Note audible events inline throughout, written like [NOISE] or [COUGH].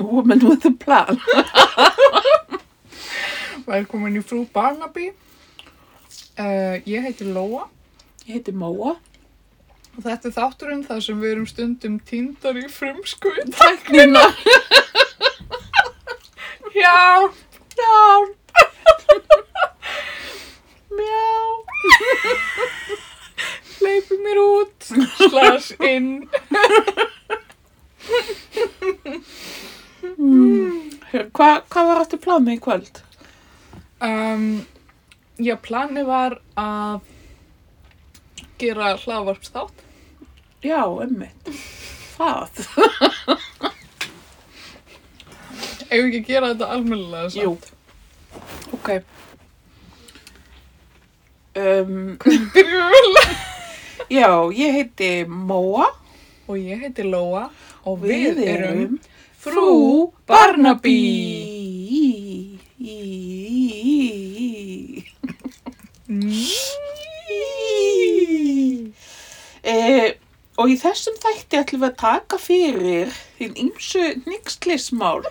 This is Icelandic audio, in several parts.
Woman with a plan. Velkomin í frú Barnaby. Uh, ég heiti Lóa Ég heiti Móa. og þetta er þátturinn þar sem við erum stundum týndar í frumskut. Tæknina. [LAUGHS] Já, Já. Mjá. hleypi mér út, slash inn. Hva, hvað var aftur planið í kvöld? Um, já, planið var að gera hlaðvarpstátt. Já, emmitt. Það. Ef við ekki gera þetta almennilega samt. Jú. Ok. Um, Byrjum við vel. já, ég heiti Móa. Og ég heiti Lóa og Við við, erum erum Frú Barnaby. Í- í- í- í- í. Eh, Og í þessum þætti ætlum við að taka fyrir þín ymsu nýkslismál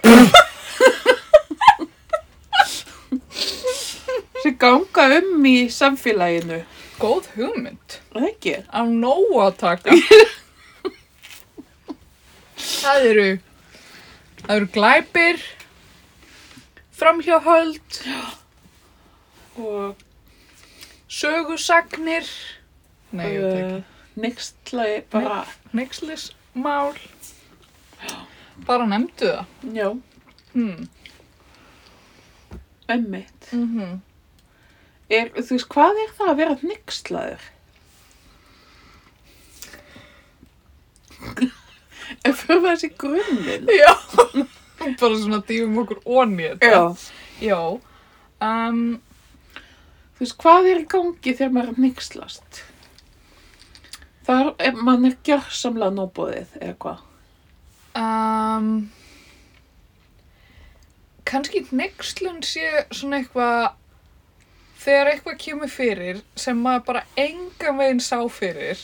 sem ganga um í samfélaginu. Góð hugmynd. Er Það ekki? Af nógu að [LAUGHS] taka. það eru, það eru glæpir, framhjáhöld, Og sögusagnir, nei, ég veit ekki, uh, nýksla er bara... nexlismál, bara nefndu það. Já, Hmm. ömmit. Mm Er, þú veist, hvað er það að vera nixlaður? Ef fyrir þessi grunninn. Já, [LAUGHS] bara svona dýfum okkur onni þetta. Já. Já, um, Þú veist, hvað er í gangi þegar maður er nixlast? Það er, ef mann er gjörsamlega nóbóðið, eða hvað? Um, kannski neykslun sé svona eitthvað þegar eitthvað kemur fyrir sem maður bara engan veginn sá fyrir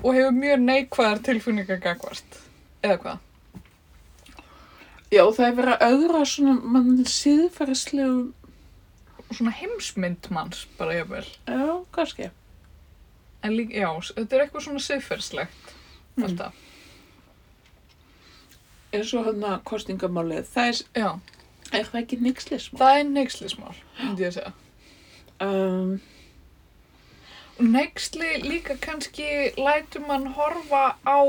og hefur mjög neikvæðar tilfinningar gagvart eða hvað? Já, það er verið að öðra svona mann síðferðislegu, Svona heimsmynd manns bara jafnvel já, kannski. en líka, já, s- þetta er eitthvað svona siðferðslegt Mm. alltaf, Eins og hann að kostingamálið, það er, já, er það ekki nixlismál? það er neykslismál myndi ég að segja Um, Nexli líka kannski lætur mann horfa á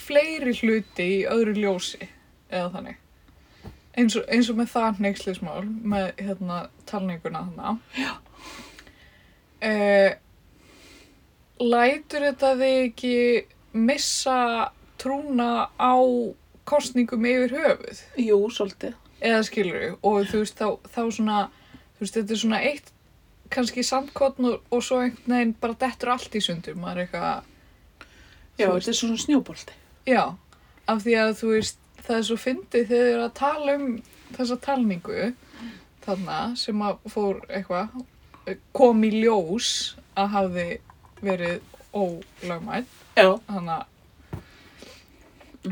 fleiri hluti í öðru ljósi eða þannig. Eins og, eins og með það nexlismál, með hérna talninguna þannig. Já. lætur þetta þig ekki missa trúna á kostningum yfir höfuð? jú, svolítið. eða skilur og þú veist þá, þá svona þú veist þetta er svona eitt kannski sandkotn og, og svo einhvern veginn bara dettur allt í sundur maður er eitthvað Já, Þú þetta er svona snjóbolti. já af því að þú veist það er svo fyndið þegar þau eru að tala um þessa talningu þarna sem að fór eitthvað kom í ljós að hafði verið ólögmætt Já. þannig að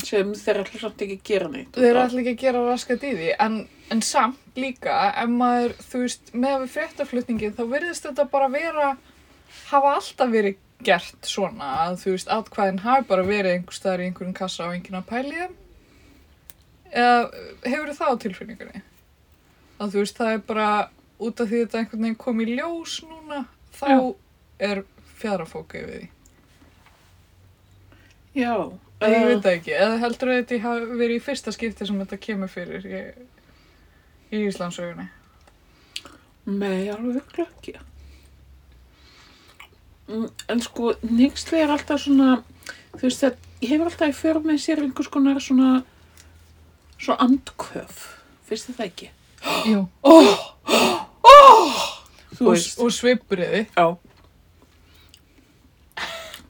sem þeir ætla samt ekki að gera neitt. þeir eru allir ekki að gera raskat í því en, en samt líka ef maður, þú veist, með við fréttaflutningin þá virðist þetta bara vera hafa alltaf verið gert svona að þú veist, atkvæðin hafi bara verið einhvers staðar í einhverjum kassa og einhverjum pæliðum eða hefur það á tilfinningunni að þú veist, það er bara út af því þetta einhvern veginn kom í ljós núna þá Já. er fjarafóku yfir því Já. Nei, ég veit það ekki. Eða heldur að þetta hafi verið í fyrsta skipti sem þetta kemur fyrir í, í Íslandsögunni? Nei, alveg glöggja. En sko, nýksli er alltaf svona, þú veist það, ég hefur alltaf í för með sér einhvers konar svona, svo andköf. Fyrst þið það ekki? Jú. Ó, ó, ó, þú Og, veist. og svipriði. já.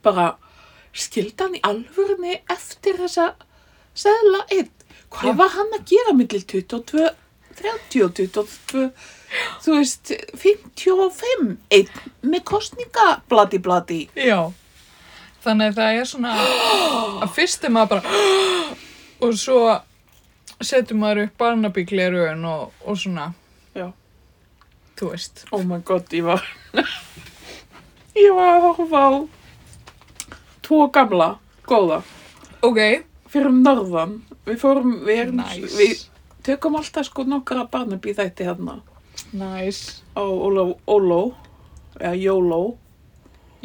Bara, skildi hann í alvörunni eftir þessa seðla einn. Hvað Já. var hann að gera millir 22, 30 og 22, þú veist, 55 einn með kostninga bladi bladi. Já. [GASPS] Þannig að það er svona að fyrst er maður bara og svo setur maður upp Barnaby glerun og, og svona. Já. Þú veist. Oh my god, ég var [LAUGHS] ég var að horfa á tvo gamla, góða Ok, fyrir norðan, við fórum við, erum, nice. við tökum alltaf sko nokkra barnabí þætti hérna Nice. á Óló, Óló eða Jóló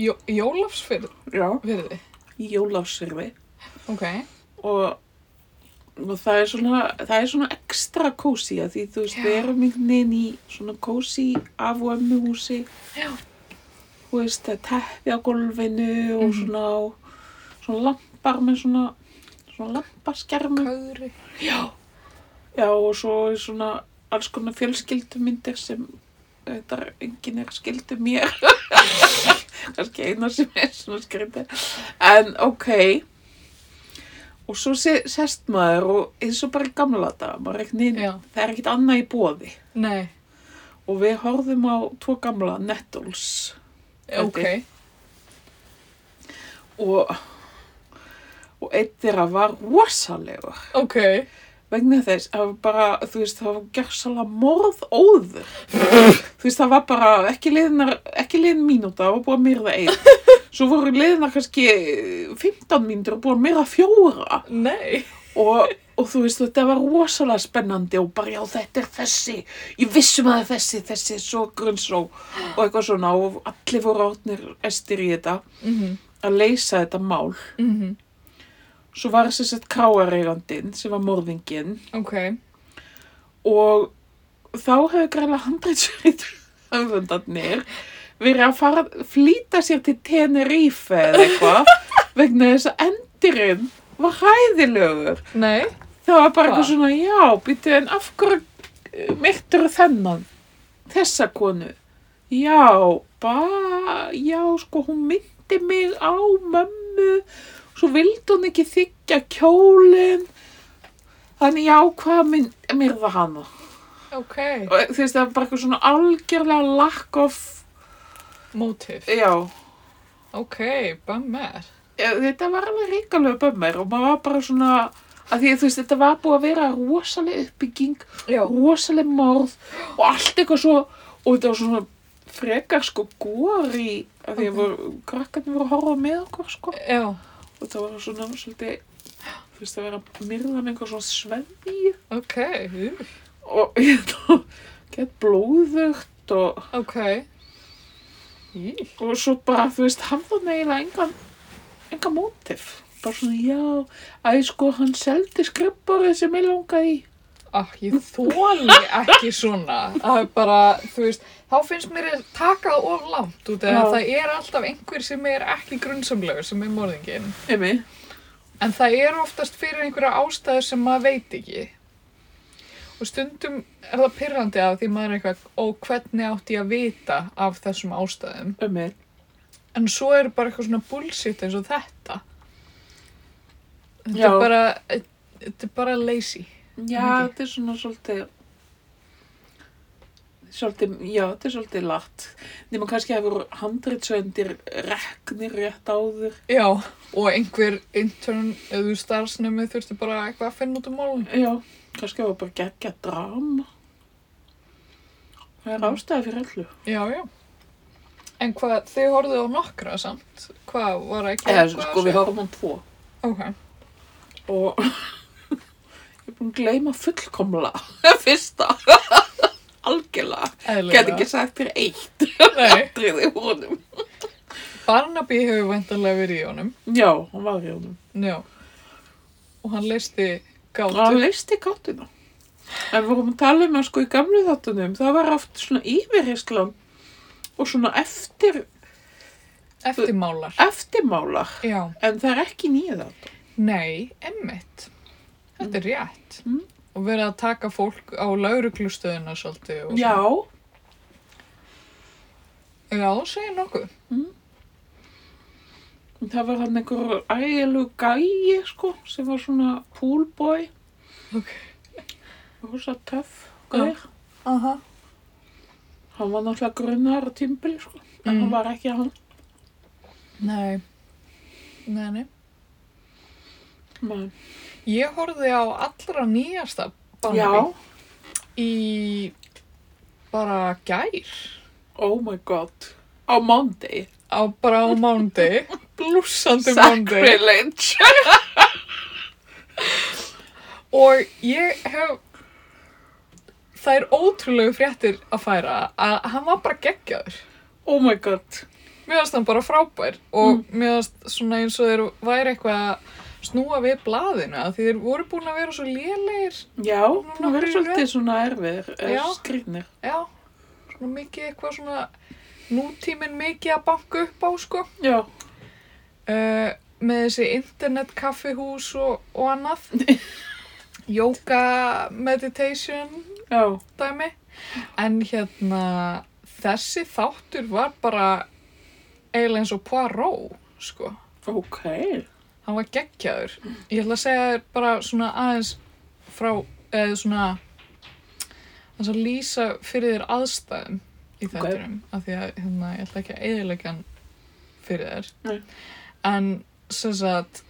Jó, Jólafsfyrði. já, í Jólafsirfi Ok. og, og það er svona það er svona ekstra kósi að því þú veist, Já. við erum einhvern veginn í svona kósi af og emmi húsi Já. þú veist, það er teppi á gólfinu og Mhm. svona og svona lampar með svona svona lampaskermi Kauri. já og svo er svona alls konar fjölskyldumyndir sem þetta er enginn er skyldu mér [LAUGHS] kannski eina sem er svona skrýndi en ok og svo se- sest maður og eins og bara í gamla daga maður er ekkert Já. það er ekkert annað í bóði Nei. og við horfðum á tvo gamla Nettles Ok. og og einn þeirra var rosalegur Ok. vegna þess að bara, þú veist, það var gersalega morð óður. þú veist, það var bara ekki liðinar, ekki liðin mínúta, það var búið að myrða einn. Svo voru liðinar kannski 15 mínútur og búið að myrða fjóra Nei. og, og þú veist, þetta var rosalega spennandi og bara, já, þetta er þessi, ég vissum að það er þessi, þessi, svo grunnsó og eitthvað svona og allir voru átnir estir í þetta Mhm. að leysa þetta mál. Mhm. Svo var þess að kráareigandinn sem var morðinginn Ok. og þá hefur græla handreitsverið höfundarnir verið að fara flýta sér til Tenerife eða eitthvað vegna þess að endirinn var hæðilegur. Nei. Það var bara eitthvað Hva? svona, já, býtu en af hverju myrtur þennan, þessa konu? Já, ba, já, sko, hún myndi mig á mömmu, svo vildi hún ekki þykja kjólinn, þannig já, hvað mynd, myrða hana? Ok. Og þú veist, það var bara eitthvað svona algjörlega lack of, Mótif. já, Ok, bummer. þetta var alveg ríkalög bömmir og maður var bara svona, að því, þú veist, þetta var búið að vera rosaleg uppbygging Já. rosaleg morð og allt eitthvað svo og þetta var svona frekar sko góri af því að voru, krakkarnir voru að horfa með okkur sko Já. og það var svona svolítið þú veist að vera að myrða með einhver svona svefi Ok. uh, og [LAUGHS] hérna gett blóðugt og, Ok. Í. og svo bara þú veist hann var eiginlega engan engan mótif bara svona já að sko hann seldi skrippborið sem ég langaði í Ah, ég þóli ekki svona. Það er bara, þú veist, þá finnst mér að taka það of langt út Já. eða það er alltaf einhver sem er ekki grunnsamlegur sem er morðingin. Emi, En það er oftast fyrir einhverja ástæður sem maður veit ekki. Og stundum er það pyrrandi af því maður er eitthvað, ó, hvernig átti ég að vita af þessum ástæðum? emi En svo er bara eitthvað svona bullshit eins og þetta. Þetta Já. er bara, þetta er bara lazy. Já, Mikið. þetta er svona svolítið svolítið, já, þetta er svolítið látt nema kannski að voru handritsöndir reknir rétt áður Já, og einhver intern eða starfsnemi þurfti bara eitthvað að finna út um málun. já, kannski að voru bara geggja drama það er Mm. ástæði fyrir öllu Já, já. En hvað, þið horfðu á nokkra samt? Hvað var ekki eða eitthvað sko að við sjá? horfum á tvo Ok, og [LAUGHS] ég er búin að gleyma fullkomla [LAUGHS] fyrsta algjörlega, eðlilega. get ekki sagt fyrir eitt Nei, driði úr honum Barnaby hefur væntanlega verið í honum. já, hann var í honum Já. Og hann leisti Og hann gátur. leisti káttuna. En við vorum að tala um að sko í gamlu þáttunum, það var oft svona yfirheyslan og svona eftir, Eftirmálar. eftirmálar. Já. En það er ekki nýja þáttunum. Nei, emmitt. Þetta er rétt. Mm. Og verið að taka fólk á lauruglustöðuna svolítið. og Já, svona. Já, þú segir nokkuð. það var hann einhver ægilegu gæi sko sem var svona poolboy, Ok. rosa töff gær. Aha. Hann var náttúrulega grunnar á tímbili sko, en Mm. hann var ekki hann. Nei. Nei, nei. Nei. Ég horfði á allra nýjasta Barnaby Já, í bara gær oh my god. Á Monday. á bara á mándi, [LAUGHS] blúsandi mándi Sacrilege. og ég hef það er ótrúlegu fréttir að færa að hann var bara geggjaður [LAUGHS] Oh my god. mér finnst hann bara frábær og mér finnst svona eins og þeir væri eitthvað að snúa við blaðinu að því þeir voru búin að vera svo lélegir Já, nú verður Nokkrir svolítið svona erfiðir, er Já. skrýtnir. já, svona mikið eitthvað svona nútíminn mikið að banka upp á sko Já, uh, með þessi internet kaffihús og, og annað yoga meditation já, dæmi en hérna þessi þáttur var bara eiginlega eins og Poirot sko, ok. hann var geggjaður ég ætla að segja þér bara svona aðeins frá, eða svona aðeins að lýsa fyrir þér aðstæðum í þetturum af því að hérna, ég ætla ekki að eiginlega hann fyrir þér Nei. en sem sagt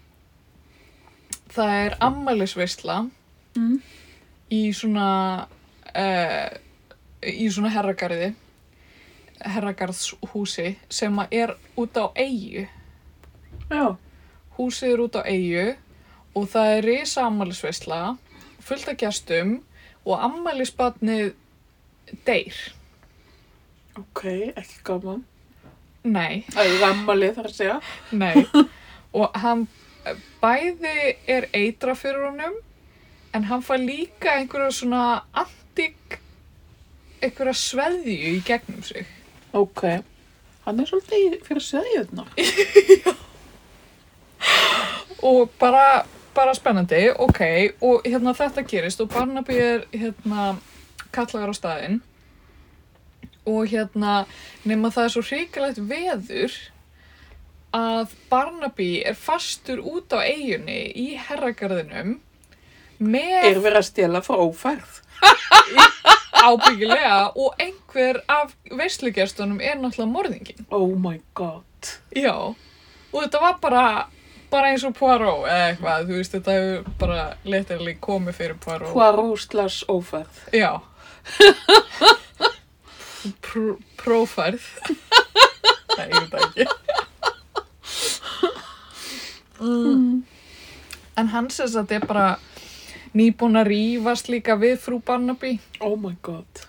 það er ammælisveisla Mm. í svona uh, í svona herragarði herragarðshúsi sem að er út á eigu Já, húsið er út á eigu og það er risa ammælisveisla fullt af gestum og ammælisbarnið deyr ok, ekki gaman. nei, Það er rammalið þar að segja. nei og hann bæði er eitra fyrir honum en hann fær líka einhverja svona antik einhverja sveðju í gegnum sig Ok. Hann er svolítið í- fyrir sveðjöðnar. og bara, bara spennandi, ok og hérna þetta gerist og Barnaby er hérna kallaður á staðinn og hérna nema það er svo hrikalegt veður að Barnaby er fastur út á eigunni í herragarðinum Er með verið að stela frá ófærð. ábyggilega og einhver af veislugestunum er náttúrulega morðingin Oh my god. Já, og þetta var bara bara eins og Poirot eða eitthvað, þú veist, þetta hefur bara letirli komið fyrir Poirot. Poirot slash ófærð. Já. Pr prófærð. Nei, ég veit það ekki. Mm. En hann sess að þetta er bara nýbúin að rífast líka við frú Barnaby. Oh my god.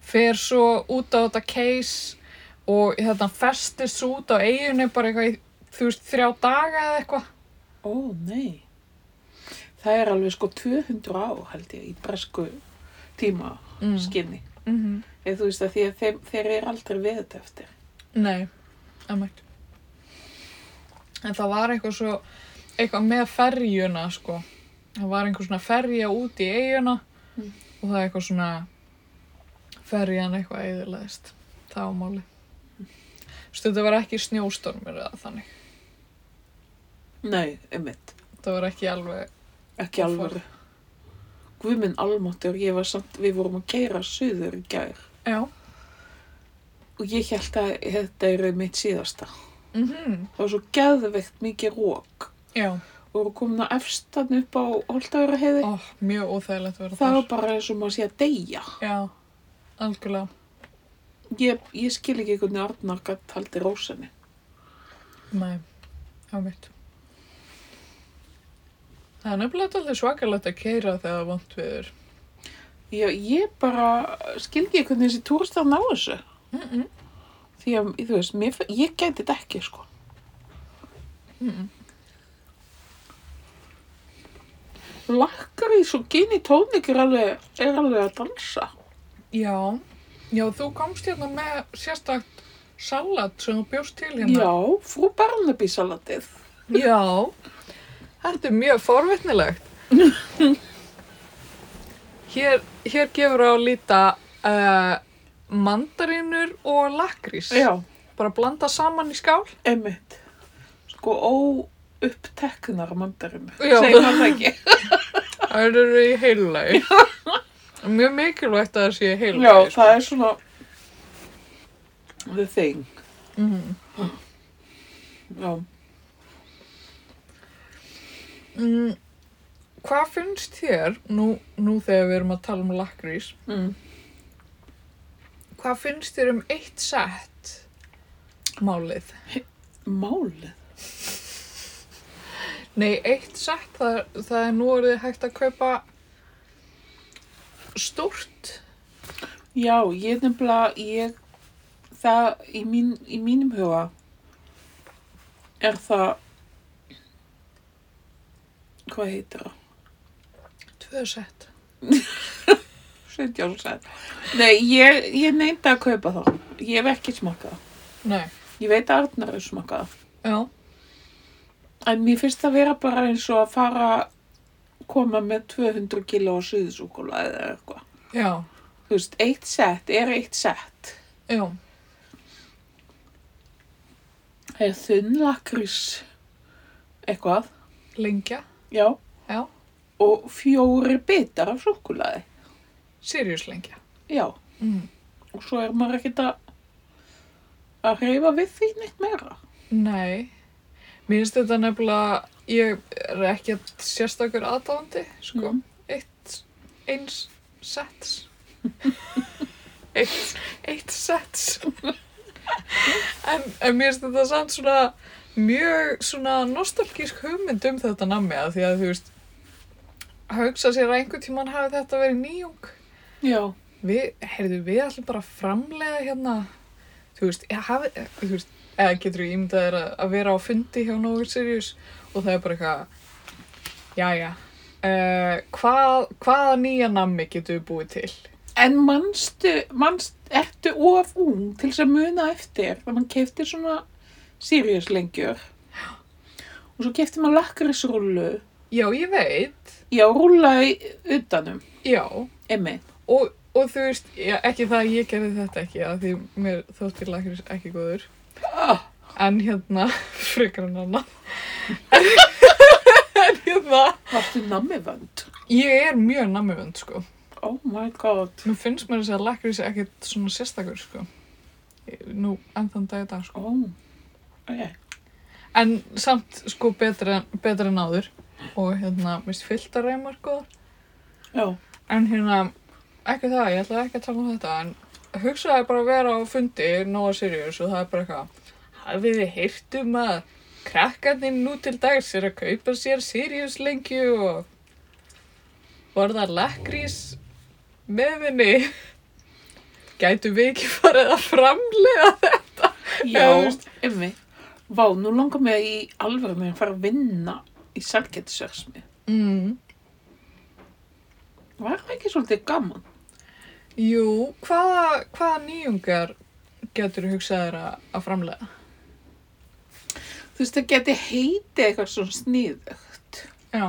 Fer svo út á þetta case og þetta festist svo út á eiginni bara eitthvað, í, þú veist, þrjá daga eða eitthvað. Ó nei. Það er alveg sko 200 ár held ég í bresku tíma Mm. skinni. Mm Eða þú veist að því að þeir, þeir eru aldrei við þetta eftir. Nei, emmætt. En það var eitthvað svo, eitthvað með ferjuna, sko. Það var einhver svona ferja út í eiguna Mm. og það er eitthvað svona ferjan eitthvað eðurleðist. Það var máli. Þú þetta var ekki snjóstormur eða þannig. Nei, einmitt. Það var ekki alveg, Ekki alveg. Guðminn almáttur, ég var samt, við vorum að keira suður í gær já. og ég held að þetta eru mitt síðasta. Mm Það var svo geðveikt mikið rók Já. og voru komin á efstan upp á Holtavera heiði. Ó, mjög óþægilegt að vera Það var þar. bara eins og maður sé að deyja. Já, algjörlega. Ég, ég skil ekki hvernig Arnar gætt haldi rósenni. Nei, ámynd. Það er nefnilega alltaf svakalegt að keira þegar það er vant viður. Já, ég bara skil ekki hvernig þessi túristar ná þessu. Mm -mm. Því að, þú veist, mér, fin- ég gæti þetta ekki, sko. Lakkar í svo gini tónik er alveg, er alveg að dansa. Já, já, þú komst hérna með sérstakt salat sem þú bjóst til Já, hérna. frú Barnaby salatið. já. Þetta er mjög [LAUGHS] forvitnilegt. hér, hér gefur á að líta uh, mandarínur og lakrís. Já, Bara blanda saman í skál. einmitt. Sko, óuppteknar mandarinu. Já. Segir maður það [LAUGHS] ekki. Það eru í heilulagi. Mjög mikilvægt að það sé í sko. Já, heilulagi. það er svona the thing. Mhm. Já, Mm, Hvað finnst þér, nú, nú þegar við erum að tala um lakrís, Mm. hvað finnst þér um eitt sett málið? Málið? Nei, eitt sett, það, það er nú orðið hægt að kaupa stórt. Já, ég nefnilega, ég, það í, mín, í mínum huga er það, hvað heitir það? Tvö sett. Sveit Jónsson. Nei, ég, ég neyndi að kaupa það. Ég hef ekki smakað. það. Nei, Ég veit að Arnar er smakað. það. já, En mér finnst það vera bara eins og að fara koma með 200 kíló og suðisúkula eða eitthvað. já, Þú veist, eitt sett er eitt sett. já, Það er þunn lakrís eitthvað, lengja, já, já, og fjóri bitar af súkulaði, sirjus lengja. já. Mm. Og svo er maður ekkert að að reyfa við því neitt meira. Nei, mér finnst þetta nefnilega, ég er ekki sérstakur aðdáðandi, sko, Mm. eitt, eins sets. eitt, eitt sets. en, en mér finnst þetta samt svona mjög svona nostalgísk hugmynd um þetta nammi að því að þú veist, að hugsa sér að einhvern tímann hafi þetta verið nýjung. Já, Við, heyrðu, við ætlum bara að framlega hérna, þú veist, ég hafi, e, þú veist, eða getur við ímyndað þér að, að vera á fundi hjá Nóður Sirius og það er bara eitthvað, já, já, uh, hvað, hvaða nýja nammi getur við búið til? en manstu, manst, ertu of ung til þess að muna eftir þegar mann kefti svona sirjuslengjur og svo kefti maður lakrísrullu, Já, ég veit, já, rúllaði utanum, já, emmi. og, og þú veist, já, ekki það að ég gerði þetta ekki, að því mér þóttir lakris ekki góður, Ah, en hérna, [LAUGHS] frekar en annað, [LAUGHS] en hérna, varstu nammivönd? ég er mjög nammivönd, sko. Oh my god. Nú finnst mér þess að lakrísi ekkert svona sérstakur, sko. Nú, enn þann dag í dag, sko. Ó, ok. En samt, sko, betra, betra en áður. Og hérna, mist fylgta reymar, sko. Já, En hérna, ekki það, ég ætlaði ekki að tala um þetta, en hugsaði bara að vera á fundi Nóa Sirius og það er bara eitthvað. Hafið þið heyrt um að krakkarnir nú til dags er að kaupa sér Sirius lengju og borða lakrís meðinni? [LAUGHS] Gætu við ekki farið að framlega þetta? þú já, veist. emmi. Vá, nú langar mig í alvöru með að fara að vinna í sælgetisversmi. Mm. Var það ekki svolítið gaman? Jú, hvaða, hvaða nýjungar getur hugsað þér að, að framlega? Þú veist, það geti heitið eitthvað svona sniðugt. Já,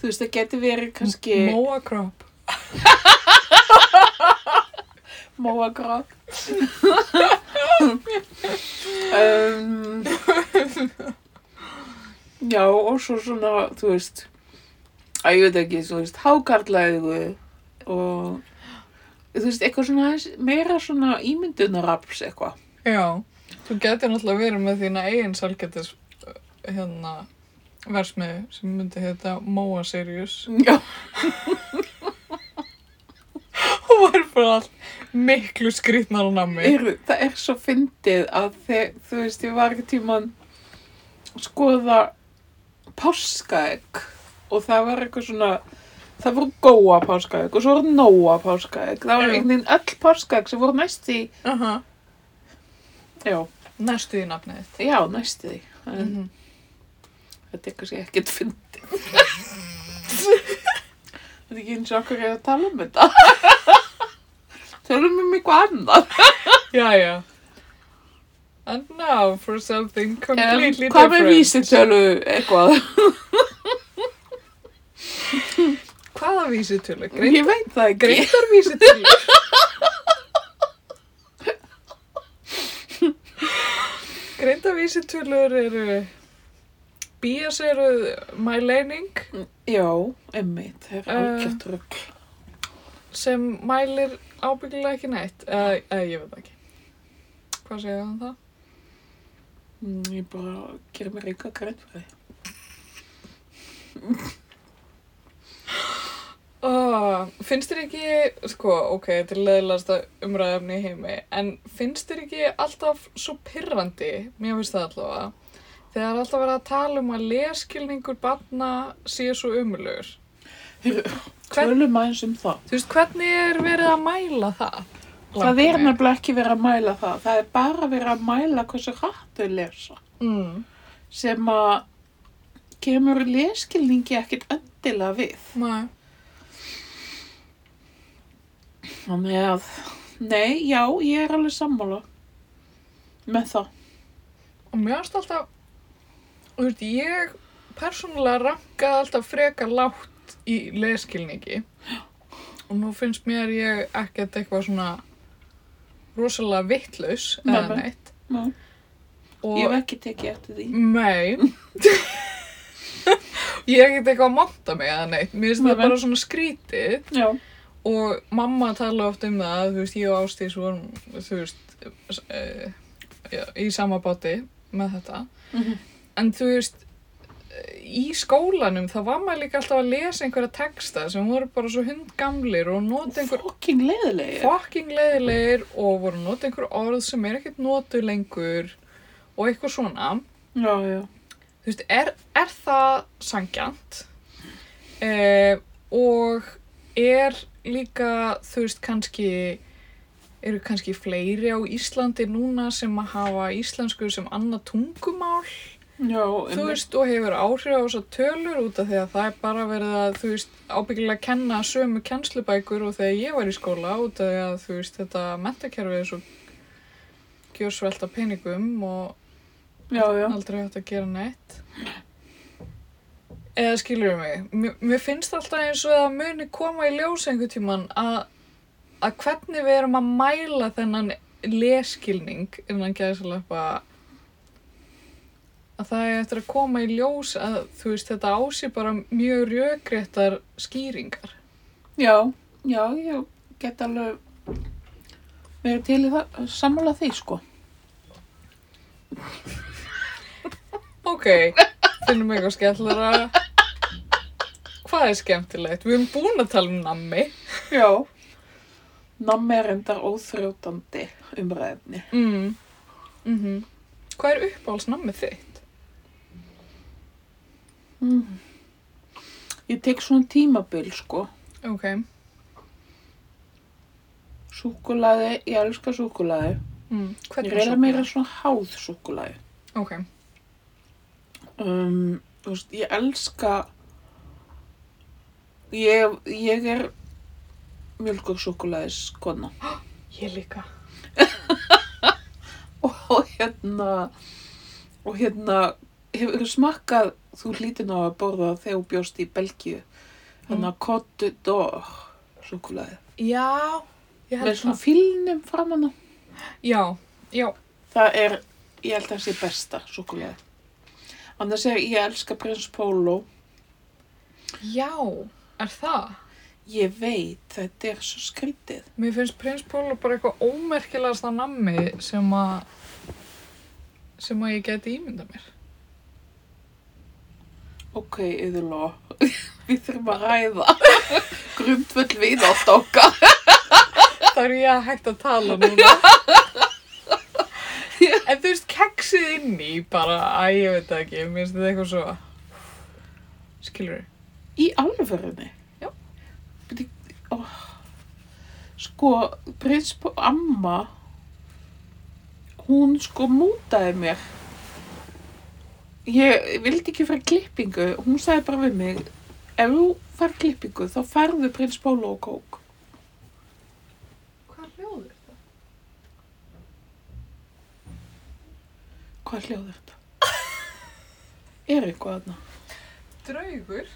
Þú veist, það geti verið kannski Móa Kropp. móagráð. um, já, og svo svona, þú veist, að ég veit ekki, þú veist, hákarlæðu og þú veist, eitthvað svona aðeins- meira svona ímyndunarafls eitthvað. Já, þú getur náttúrulega verið með þína eigin salgetis hérna versmiði sem myndi heita Móa Sirius [LAUGHS] Já. og var bara allt miklu skrýtnar á nammi. er, það er svo fyndið að þeg, þú veist, ég var ekki tíman skoða páskaegg og það var eitthvað svona það voru góa páskaegg og svo voru nóa páskaegg það Já. var einhvern veginn öll páskaegg sem voru næst í Uh -huh. já, Næstu í nafnið þitt. já næst í því en Mhm. þetta er kannski ekkert fyndið [LAUGHS] þetta er ekki eins og okkur er að tala um þetta tölum um eitthvað annað Já, já. And now for something en, completely hvað með different. vísitölu eitthvað Hvaða vísitölu? ég veit það ekki Greindar vísitölu? [LAUGHS] Greindar vísitölur eru... Bías eru My Leining Já, emmitt, það er Eh. algjört rugg. sem mælir ábyggilega ekki neitt. Eða, eða ég veit það ekki. Hvað segir það um það? Mm, Ég bara gerir mér eitthvað grænt fyrir því. finnst þér ekki, sko, ok, þetta er leðilegasta umræðafni í heimi, en finnst þér ekki alltaf svo pirrandi, mér finnst það allavega, þegar alltaf verið að tala um að leskilningur barna sé svo umulugur. Hvern- Tölum aðeins um það. Þú veist, hvernig er verið að mæla það? Það Langar er mig. nefnilega ekki verið að mæla það. Það er bara verið að mæla hversu hratt þau lesa. Mm, Sem að kemur leskilningi ekkit endilega við. nei, Þannig að, nei, já, ég er alveg sammála með það. og mér finnst alltaf, þú veist, ég persónulega rankaði alltaf frekar lágt í leskilningi og nú finnst mér ég ekkert eitthvað svona rosalega vittlaus eða Nei, nei. neitt Já. Ég hef og ekki tekið eftir því. mei [LAUGHS] ég er ekkert eitthvað að monta mig eða neitt mér finnst Nei, það nei. bara svona skrítið Já, og mamma tala oft um það þú veist, ég og Ástís vorum þú veist uh, já, í sama báti með þetta Mhm. en þú veist eh, í skólanum þá var maður líka alltaf að lesa einhverja texta sem voru bara svo hundgamlir og nota einhver fokking leiðilegir. fucking leðilegir og voru að nota einhver orð sem er ekkert notu lengur og eitthvað svona Já, já. þú veist, er, er það sangjant eh, og er líka, þú veist, kannski eru kannski fleiri á Íslandi núna sem að hafa íslensku sem annað tungumál Já, þú veist, og hefur áhrif á þessar tölur út af því að það er bara verið að, þú veist, ábyggilega kenna sömu kennslubækur og þegar ég var í skóla út af því að, þú veist, þetta mentakerfið er svo gjörsvelta peningum og já, já. aldrei hægt að gera neitt eða skilur mig mér, mér finnst alltaf eins og það muni koma í ljós einhver tíman að, að hvernig við erum að mæla þennan leskilning innan gæðsalappa að það er eftir að koma í ljós að þú veist þetta ási bara mjög rjögréttar skýringar Já, já, ég get alveg verið til í það, sammála því, sko. ok, finnum eitthvað skemmtilega hvað er skemmtilegt? við erum búin að tala um nammi Já. Nammi er endar óþrjótandi umræðinni. Mm. Mm Hvað er uppáhaldsnammið þitt? Ég tek svona tímabil, sko. Ok. Súkulaði, ég elska súkulaði. Mm. Ég Hvernig reyla meira súkkulaði? svona háð súkulaði. Ok. Um, þú veist, ég elska, ég, ég er mjölkursúkulaðis kona. Ég líka. Og hérna, og hérna, hefur smakkað, þú hlýtin á að borða þegar þú bjóst í Belgíu. Mm. Þannig að Côte d'Or súkulaði. Já. Ég Með held svona það. fílnum framan á. Já. Já. Það er, ég held að það sé besta, súkulega. Annars er ég elska prins Pólo. Já. Er það? Ég veit, þetta er svo skrítið. Mér finnst Prins Pólo bara eitthvað ómerkilegasta nammi sem að sem að ég geti ímynda [LAUGHS] mér. Ok, yðurló, [LAUGHS] við þurfum að ræða [LAUGHS] grundvöld við á stóka. Það er ég að hægt að tala núna. [LAUGHS] en þú veist, keksið inn í bara, að ég veit það ekki, mér finnst þetta eitthvað svo. Skilur þið? Í alvörunni? Já. Bíddu, ó. Sko, prins Pólo, amma, hún sko mútaði mér. Ég vildi ekki fara í klippingu, hún sagði bara við mig, ef þú fær klippingu þá færðu prins Pólo og kók. Hvað hljóður þetta? Hvað hljóð er [LAUGHS] þetta? er eitthvað þarna? Draugur?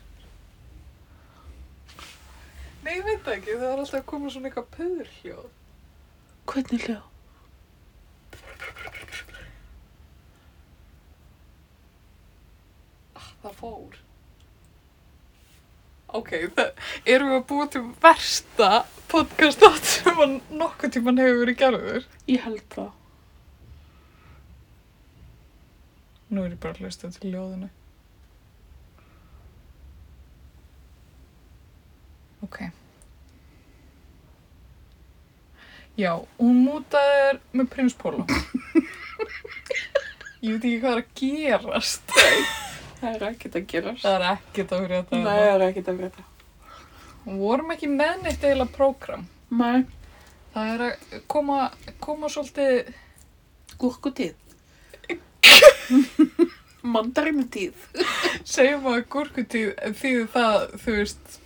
Nei, ég veit það ekki, það er alltaf að koma svona eitthvað pöðurhljóð. Hvernig hljóð? Það fór. Ok, það erum við að búa til versta podcast átt sem að nokkuð tíman hefur verið gerður. Ég held það. Nú er ég bara að hlusta til ljóðinu. Ok, Já, hún mútaði þér með prins Pólo. ég veit ekki hvað er að gerast. Það er ekkert að gerast. Það er ekkert að frétta. Nei, hérna. það er ekkert að frétta. Við vorum ekki með neitt eiginlega prógram. Nei, Það er að koma, koma svolítið, gúrkutíð. Mandarinutíð. segjum að gúrkutíð því það, þú veist,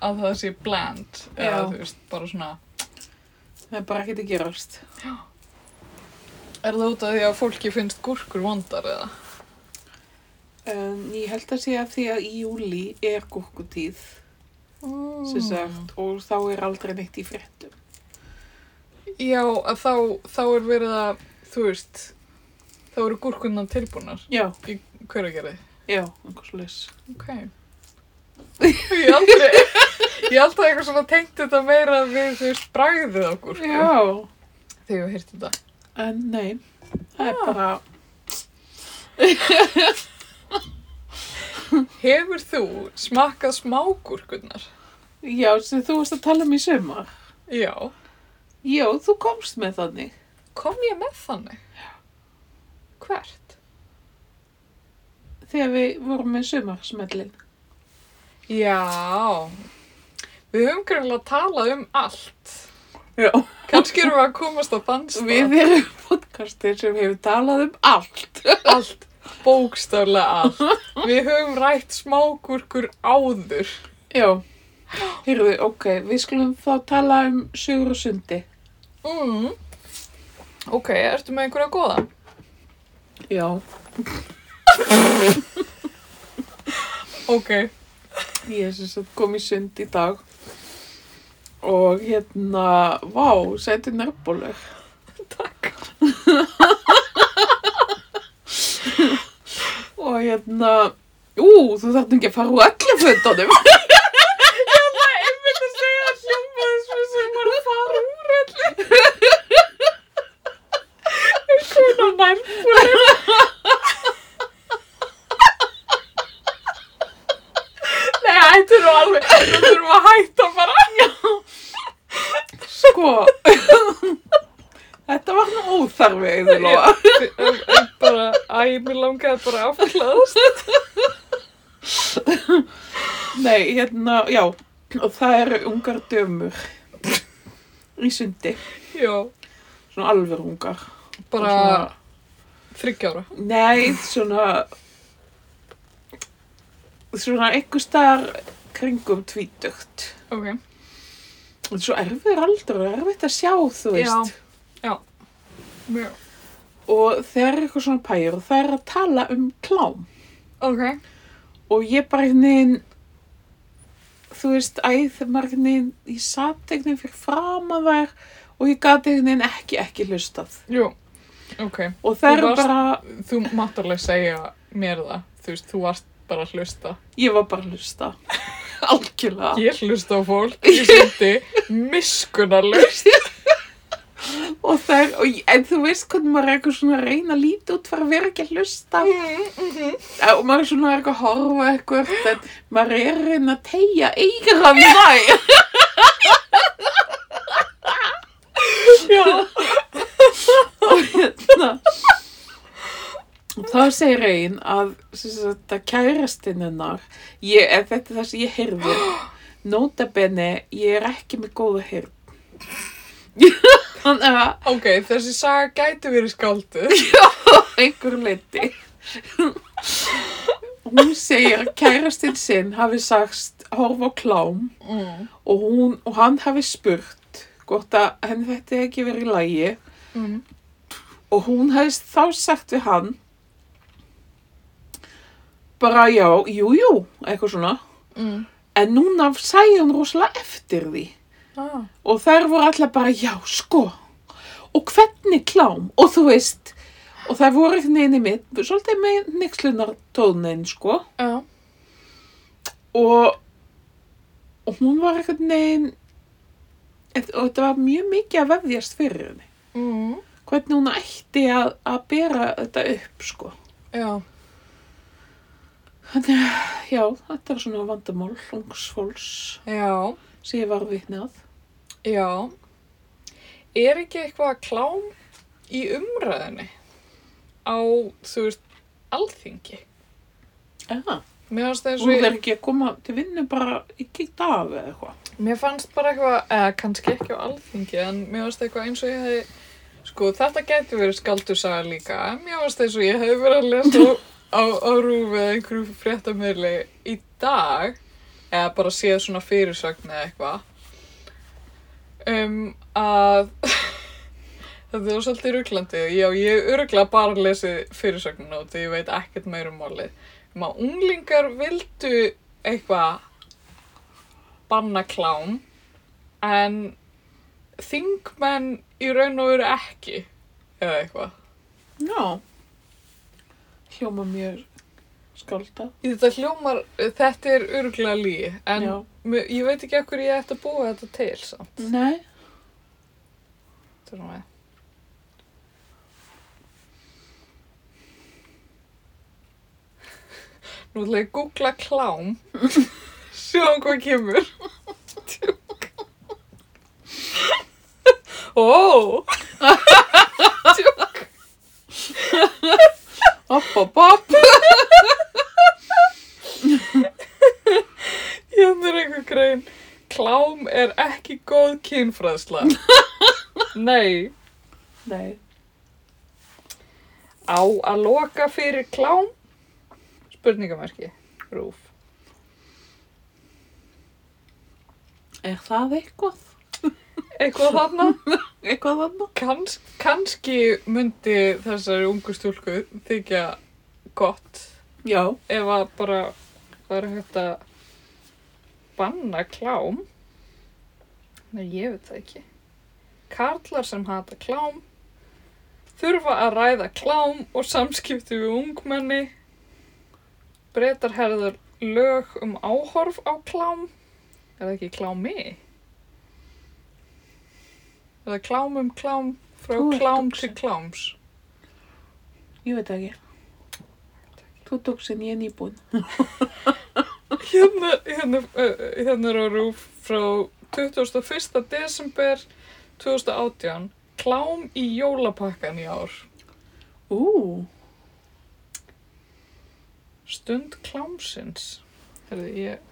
að það sé bland. Eða Já. þú veist, bara svona, Það er bara ekkert að gerast. er það út af því að fólki finnst gúrkur vondar eða? Um, ég held að segja því að í júli er gúrkutíð, Mm. sem sagt, og þá er aldrei neitt í fréttum. Já, að þá, þá er verið að, þú veist, þá eru gúrkunnar tilbúnar. Já, Hver að gera þið? já, einhvers leys. Ok. Ég aldrei, ég aldrei eitthvað svona tengt þetta meira við, þú veist, bragðið á gúrku. Já, Þegar ég heyrti þetta. en nei, það er Já. bara, Hefur þú smakkað smágúrkunnar? já, sem þú varst að tala um í sumar. Já. Já, þú komst með þannig. Kom ég með þannig? Hvert? Þegar við vorum með sumarsmellin. Já. Við höfum greinlega talað um allt. Já. Kannski erum við að komast á dansa. Við erum podcastir sem hefur talað um allt. allt, bókstaflega allt. Við höfum rætt smágúrkur áður. Já. Heyrðu, ok, við skulum þá tala um Sigur og Sundi. Mm. Ok, ertu með einhverja góða? Já. Ok. Ég er sem sagt kom í Sund í dag og hérna, vá, sæti nærbólur. Takk. Og hérna, ú, þú þarf ekki að fara úr öllu fötunum. Það er einmitt að segja að hljóma þessu sem var að fara úr öllu. Einhverjum nærfúrum. Nei, þetta er nú alveg, þetta þurfum að hætta bara. Sko, [LAUGHS] þetta var nú óþarfi, eða lofa. Ég- ég- ég bara, æ, mér langaði bara að afklaðast. Nei, hérna, já, og það eru ungar dömur í Sundi, Já, svona alveg ungar. Og bara þryggjára. Nei, svona svona einhver staðar kringum tvítugt Ok. og svo erfiður aldur og erfitt að sjá þú veist Já. og þeir eru eitthvað svona pæjur og það er að tala um klám Ok. og ég bara einhvern veginn þú veist, æ, þegar maður einhvern veginn ég sat einhvern veginn fyrir fram að þær og ég gat einhvern veginn ekki, ekki hlustað Jú. Ok. og það Þú eru varst- bara, Þú mátt alveg segja mér það. Þú veist, þú varst bara að hlusta. ég var bara að [LAUGHS] hlusta algjörlega Ég hlusta á fólk. Ég sýndi miskunnarlaust. [LAUGHS] Og það er, og, ég- en þú veist hvernig maður er eitthvað svona að reyna að líta út fyrir að vera ekki að hlusta Eh, og maður er svona eitthvað að horfa eitthvað en maður er að reyna að tegja eigra mæ Já. og hérna og þá segir ein að sem sagt, að kærastinn hennar ég, eða þetta er það sem ég heyrði [GASPS] notabene, ég er ekki með góða heyrn [LAUGHS] þannig að Ok, þessi saga gæti verið skálduð. einhver leiti. hún segir að kærastinn sinn hafi sagst horfa á klám Mm. og, hún, og hann hafi spurt hvort að henni þetta hefði ekki verið í lægi Mm. og hún hefði þá sagt við hann bara já, jú, jú, eitthvað svona Mm. en núna sæði hún rosalega eftir því Ah. og þær voru allar bara já, sko og hvernig klám og þú veist og þær voru einhvern veginn í mitt svolítið með nixlunar tónin sko Já. og, og hún var einhvern veginn og þetta var mjög mikið að vefjast fyrir henni Mm. hvernig hún ætti að, að bera þetta upp sko Já. þannig að já, þetta er svona vandamál ungs fólks Já. sem ég var vitni að Já, er ekki eitthvað klám í umræðinni á, þú veist, alþingi? Já, Mér fannst, eins og hún er ég, ekki að koma til vinnu bara ekki í dag eða eitthvað. mér fannst bara eitthvað, eða kannski ekki á alþingi, en mér fannst eitthvað eins og ég hefði, sko, þetta getur verið skaldursaga líka, en mér fannst eins og ég hefði verið að lesa á, á, á rúfið einhverju fréttamöðli í dag, eða bara séð svona fyrirsögn eða eitthvað, um að [LAUGHS] þetta er svolítið rugglandi já, ég hef örgulega bara lesið fyrirsögnuna út og ég veit ekkert meira um málið um að unglingar vildu eitthvað banna klám en þingmenn í raun og veru ekki eða eitthvað Já, hljóma mjög skáldað. þetta hljómar, þetta er örgulega líi en Já. mér- ég veit ekki ekkur ég ætti að búa þetta til samt, Nei. þurfum við Nú ætla ég að googla klám Sjáum hvað kemur Tjók Ó Tjók Hopp, hopp, hopp. Hérna er einhver grein Klám er ekki góð kynfræðsla Nei Nei. Á að loka fyrir klám? Spurningamarki Rúf Er það eitthvað? Eitthvað þarna? Eitthvað annað? Kans, kannski myndi þessari ungu stúlku þykja gott Já. ef að bara var hægt að banna klám. Nei, ég veit það ekki. Karlar sem hata klám þurfa að ræða klám og samskipti við ungmenni. Breytar herður lög um áhorf á klám. Er það ekki klámi? Eða klám um klám frá Þú ert klám dugsi. til kláms. Ég veit ekki. Þú tók sinn ég er nýbúin. hérna, hérna, uh, hérna er á rúf frá 21. desember 2018 klám í jólapakkan í ár Ú, stund klámsins Herði, ég,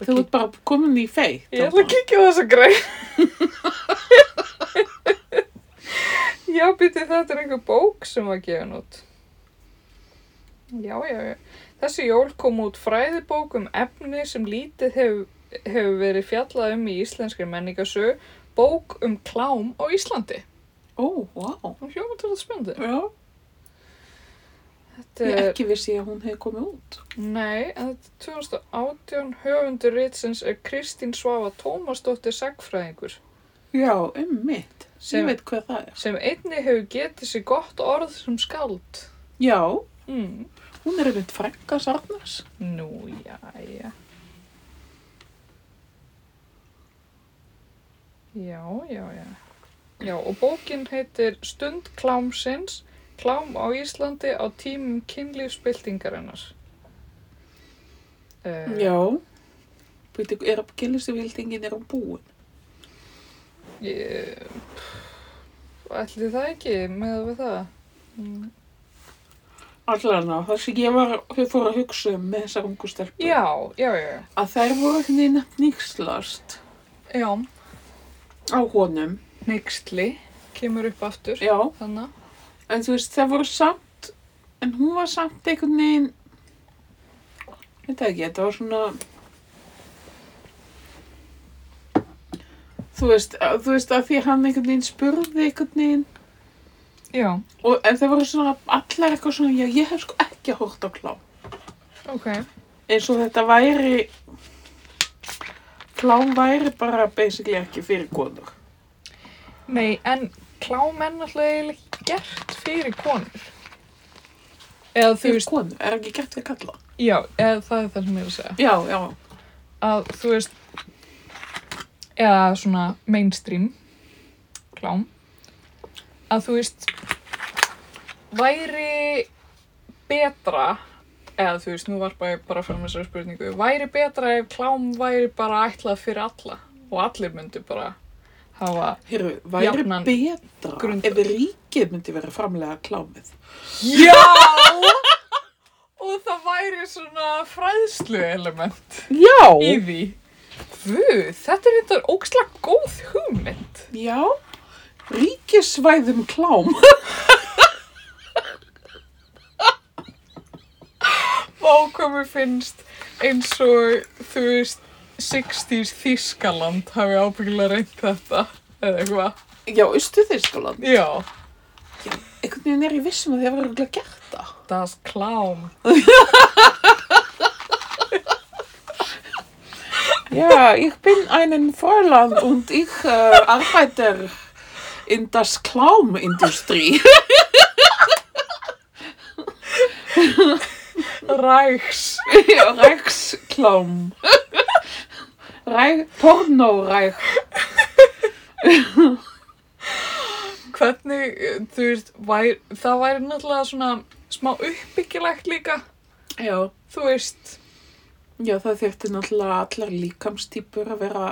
ég þú ætla að ert bara komin í feitt. kíkja- ég ætla að kíkja á þessa grein já, býti þetta er einhver bók sem var gefin út já, já, já þessi jól kom út fræðibók um efni sem lítið hefur hefur verið fjallað um í íslenskri menningasögu bók um klám á Íslandi. Ó, vá. Hún hljóma til þetta spennandi. Já. Þetta Ég er, ekki vissi að hún hefði komið út. nei, en þetta er 2018 höfundur ritsins er Kristín Svava Tómasdóttir sagfræðingur Já, ummitt. Sem- Ég veit hvað það er. sem einni hefur getið sér gott orð sem skald. Já, Mm. hún er einmitt frænka Sarnars. Nú, jæja. Já, já, já. Já, og bókin heitir Stund klámsins, klám á Íslandi á tímum kynlífsbyltingarinnar. Uh, Já. Býtu, er að gilistu vildingin er hún búin? Ég... Ætli það ekki með við það? Mm. Allan á, þess að ég var, þau fóru að hugsa um með þessar ungu stelpur. Já, já, já, já. Að þær voru henni nefn nýkslast Já, á honum. neyksli kemur upp aftur. Já. Þannig, En þú veist, það voru samt, en hún var samt einhvern veginn, veit það ekki, þetta var svona, þú veist, að, þú veist að því hann einhvern veginn spurði einhvern veginn, já, og, en það voru svona allar eitthvað svona, já, ég hef sko ekki hórt á klám. ok. Eins og þetta væri, klám væri bara basically ekki fyrir konur. Nei, en klám er náttúrulega eiginlega ekki gert fyrir konur. Eða þú Fyrir veist, konur, er ekki gert fyrir kalla. já, eða það er það sem ég er að segja. Já, já, Að þú veist, eða svona mainstream klám, að þú veist, væri betra, eða þú veist, nú var bara, bara fyrir með þessari spurningu, væri betra ef klám væri bara ætlað fyrir alla og allir myndu bara hafa Hérru, væri Jafnan betra grund- ef ríkið myndi vera framlega klámið. Já! [LAUGHS] og það væri svona fræðslu element í Já! því. Guð, þetta er þetta ógslag góð hugmynd. Já, ríkisvæðum klám. Vá hvað mér finnst eins og, þú veist, 60s Þískaland hafi ábyggilega reynd þetta. Eða eitthvað. Já, austu þýrskaland. Já. Einhvern veginn er ég vissum að þið hefur örugglega gert það. Das Clown. Ja, ich bin einen Fräulein und ich äh, arbeite in das Klaumindustrie. Ræks. Reichsklaum. Reich, Pornoreich. Hvernig, eh, þú veist, væri, það væri náttúrulega svona smá uppbyggilegt líka. Já. Þú veist, Já, það þyrfti náttúrulega allar líkamstýpur að vera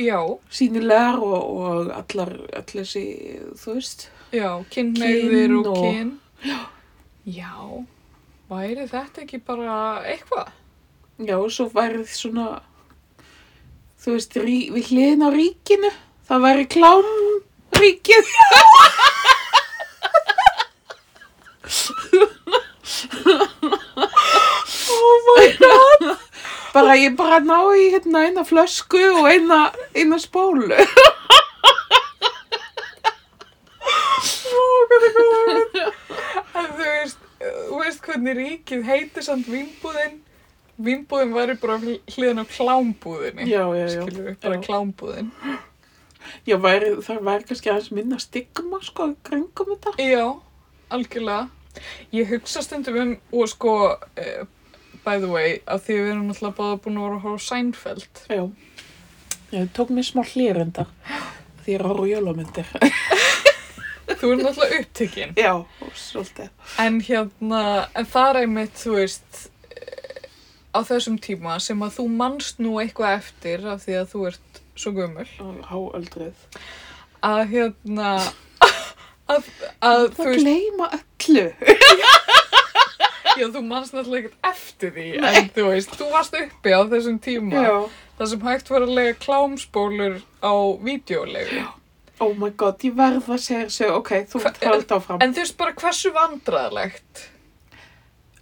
já, sínilegar og, og allar, allir þessi, þú veist. já, kynneigðir Kyn og og- kyn. Já, væri þetta ekki bara eitthvað? Já, og svo værið svona, þú veist, rí, við hliðin á ríkinu, það væri klámríkið. Oh my Bara ég bara ná í hérna eina flösku og eina, eina spólu. god, hvað er góð. [LAUGHS] En þú veist, eh, þú veist hvernig ríkið heitir samt vimbúðin? Vimbúðin væri bara hl- hliðin á klámbúðinni. Já, já, já. Skilur við, bara Já. klámbúðin. Já, væri, það væri kannski aðeins minna stigma, sko, í kringum þetta. Já, algjörlega. Ég hugsa stundum um, og sko, uh, by the way, að því við erum alltaf báða búin að vera að horfa á Seinfeld. Já. Já, það tók mér smá hlýrenda því ég er að horfa á jólamyndir. Þú erum alltaf upptekinn. Já, og svolítið. En hérna, en það er einmitt, þú veist, eh, á þessum tíma sem að þú manst nú eitthvað eftir af því að þú ert svo gömul. Háöldrið. Að hérna, að, að þú Það veist, gleyma öllu. já, þú manst alltaf ekkert eftir því. En þú veist, þú varst uppi á þessum tíma. Já. Það sem hægt var að lega klámspólur á videólegu. Oh my god, ég verð að segja þessu, ok, þú Hva- held áfram. En þú veist bara hversu vandræðalegt.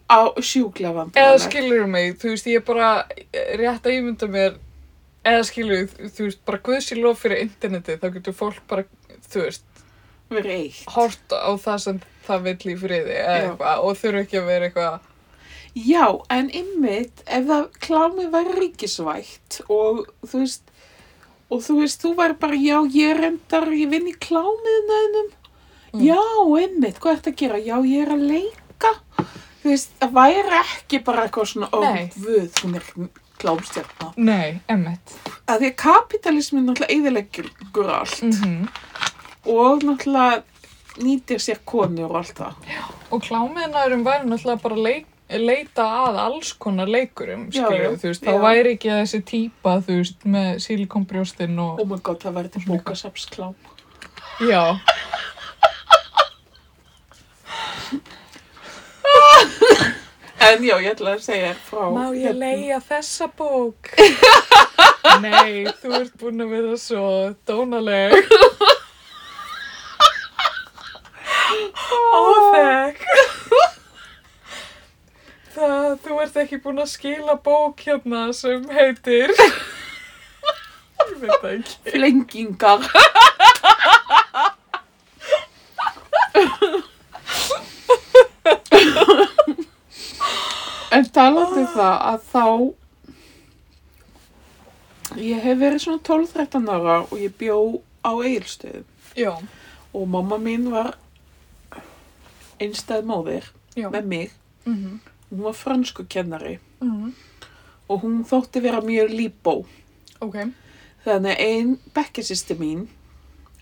Á sjúklega vandræðilegt. Eða skilur mig, þú veist, ég er bara eh, rétt að ímynda mér, eða skilur, þú veist, bara guðs í lof fyrir internetið, þá getur fólk bara, þú veist, Verið eitt. hort á það sem það vill í friði eða Já. eitthvað og þurfa ekki að vera eitthvað. Já, en ymmit, ef það klámið væri ríkisvægt og þú veist, og þú veist, þú væri bara, já, ég er endar, ég vinn í klámiðnaðinum. Mm. Já, ymmit, hvað ertu að gera? Já, ég er að leika. Þú veist, það væri ekki bara eitthvað svona, ó, Nei. vöð, hún er klámstjarnar. Nei, emmitt. Að því að kapitalismin náttúrulega eyðileggur allt Mm og náttúrulega nýtir sér konur og allt það. Og klámiðnaðurum væri náttúrulega bara leik, leita að alls konar leikurum, Já, skilur, já, þú veist, já. þá væri ekki þessi típa, þú veist, með sílikonbrjóstinn og... Oh my god, það væri til bókasapsklám. Já. En já, ég ætla að segja þér frá. hérna. leia þessa [LAUGHS] bók? Nei, þú ert búin að vera svo dónaleg. Óþekk. Það, þú ert ekki búin að skila bók hérna sem heitir... Ég veit það ekki. Flengingar. [LAUGHS] en talandi um það að þá ég hef verið svona 12-13 ára og ég bjó á Egilstöðum Já, og mamma mín var einstæð móðir já. með mig. Mhm, Hún var fransku kennari mhm. og hún þótti vera mjög líbó. Ok. Þannig að ein bekkjasýsti mín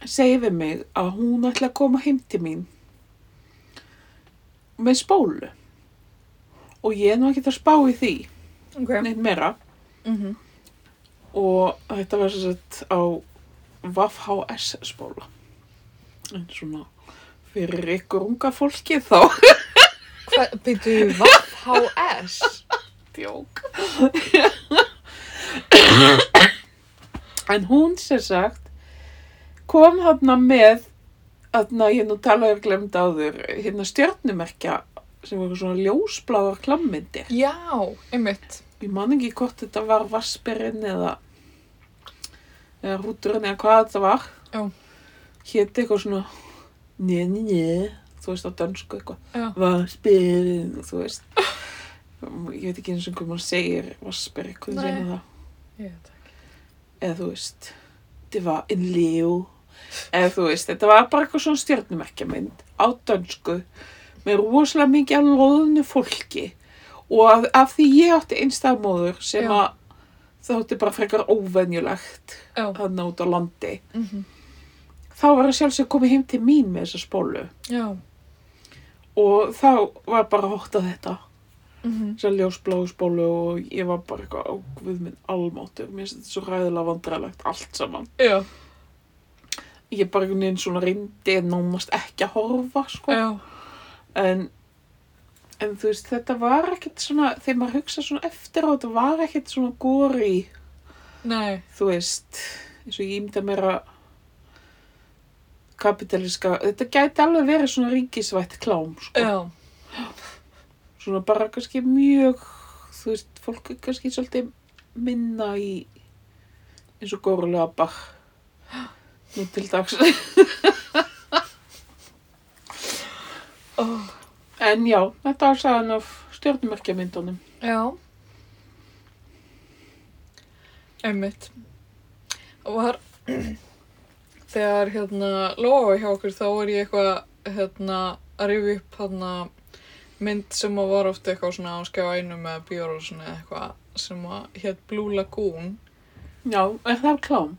segir við mig að hún ætla að koma heim til mín með spólu. Og ég er nú ekki að spá í því, Ok. neitt meira. Mhm. Og þetta var svo sett á VHS spóla. En svona fyrir ykkur unga fólki þá. Hvað, byrju, VHS? Djók. [COUGHS] en hún sem sagt kom þarna með þarna ég hef nú talaði og glemt áður hérna stjörnumerkja sem voru svona ljósbláar klammyndir. Já, einmitt. Ég man ekki hvort þetta var Vassberinn eða eða Rúturinn eða hvað þetta var. Já. Héti eitthvað svona njö, njö, njö, þú veist á dönsku eitthvað. Já. Vassberinn, þú veist. Um, Ég veit ekki eins og hvað maður segir Vassberinn, hvernig Nei. segir það? Ég veit ekki. Eða þú veist, þetta var en leo. Eða þú veist, þetta var bara eitthvað svona stjörnumerkjamynd á dönsku með rosalega mikið að loðinu fólki og af, af því ég átti einstæðmóður sem Já. að þátti bara frekar óvenjulegt Já. þannig út á landi. mhm, Þá var það sjálfsög komið heim til mín með þessa spólu Já. og þá var bara hótt að þetta. mhm, Sér ljósbláu spólu og ég var bara eitthvað á guð minn almáttur. Mér finnst þetta svo ræðilega vandræðilegt allt saman. Já. ég bara einhvern veginn svona reyndi nánast ekki að horfa sko. Já. en, en þú veist þetta var ekkert svona þegar maður hugsa svona eftir á þetta var ekkert svona góri Nei. þú veist eins og ég ímda mér að kapitaliska þetta gæti alveg verið svona ríkisvætt klám sko. Já. svona bara kannski mjög þú veist fólk er kannski svolítið minna í eins og górulega bar nú til dags Ó. Oh. En já, þetta var sagan af stjórnumerkjamyndunum. Já. Einmitt. Og var, [CLEARS THROAT] þegar hérna Lóa var hjá okkur þá var ég eitthvað hérna að rifja upp hérna mynd sem að var ofta eitthvað svona á skjá einu með bjóralsinu eða eitthvað sem að hétt Blue Lagoon. Já, er það klám?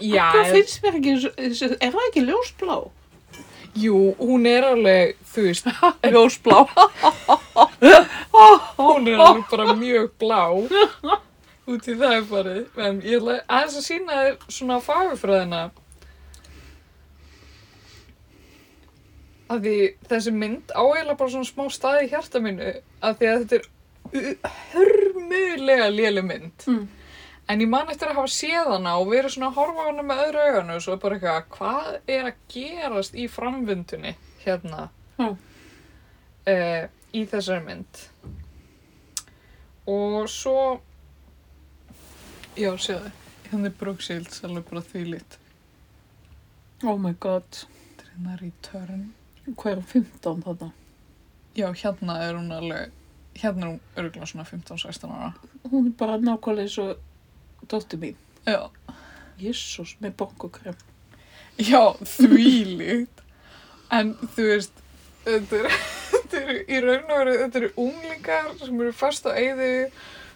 Já, Hvað finnst mér ekki, eins og- eins og- er það ekki ljósblá? jú, hún er alveg, þú veist, Ljósblá? hún er alveg bara mjög blá út í það er farið en ég ætla aðeins að sína þér svona fagurfræðina af því þessi mynd áeila bara svona smá staði í hjarta mínu af því að þetta er hörmulega léli mynd Mm. en ég man eftir að hafa séð hana og verið svona að horfa á hana með öðru auganu og svo bara eitthvað, hvað er að gerast í framvindunni hérna Já. Eh, í þessari mynd og svo já, séðu hérna er Brooke Shields alveg bara því lit Oh my god, þetta er hérna Return hvað er 15 þarna? já, hérna er hún alveg hérna er hún örgulega svona 15-16 ára Hún er bara nákvæmlega eins og dóttir mín. já, Jésús, með bongokrem. já því lit en þú veist þetta er, þetta er í raun og veru þetta eru unglingar sem eru fast á eyðu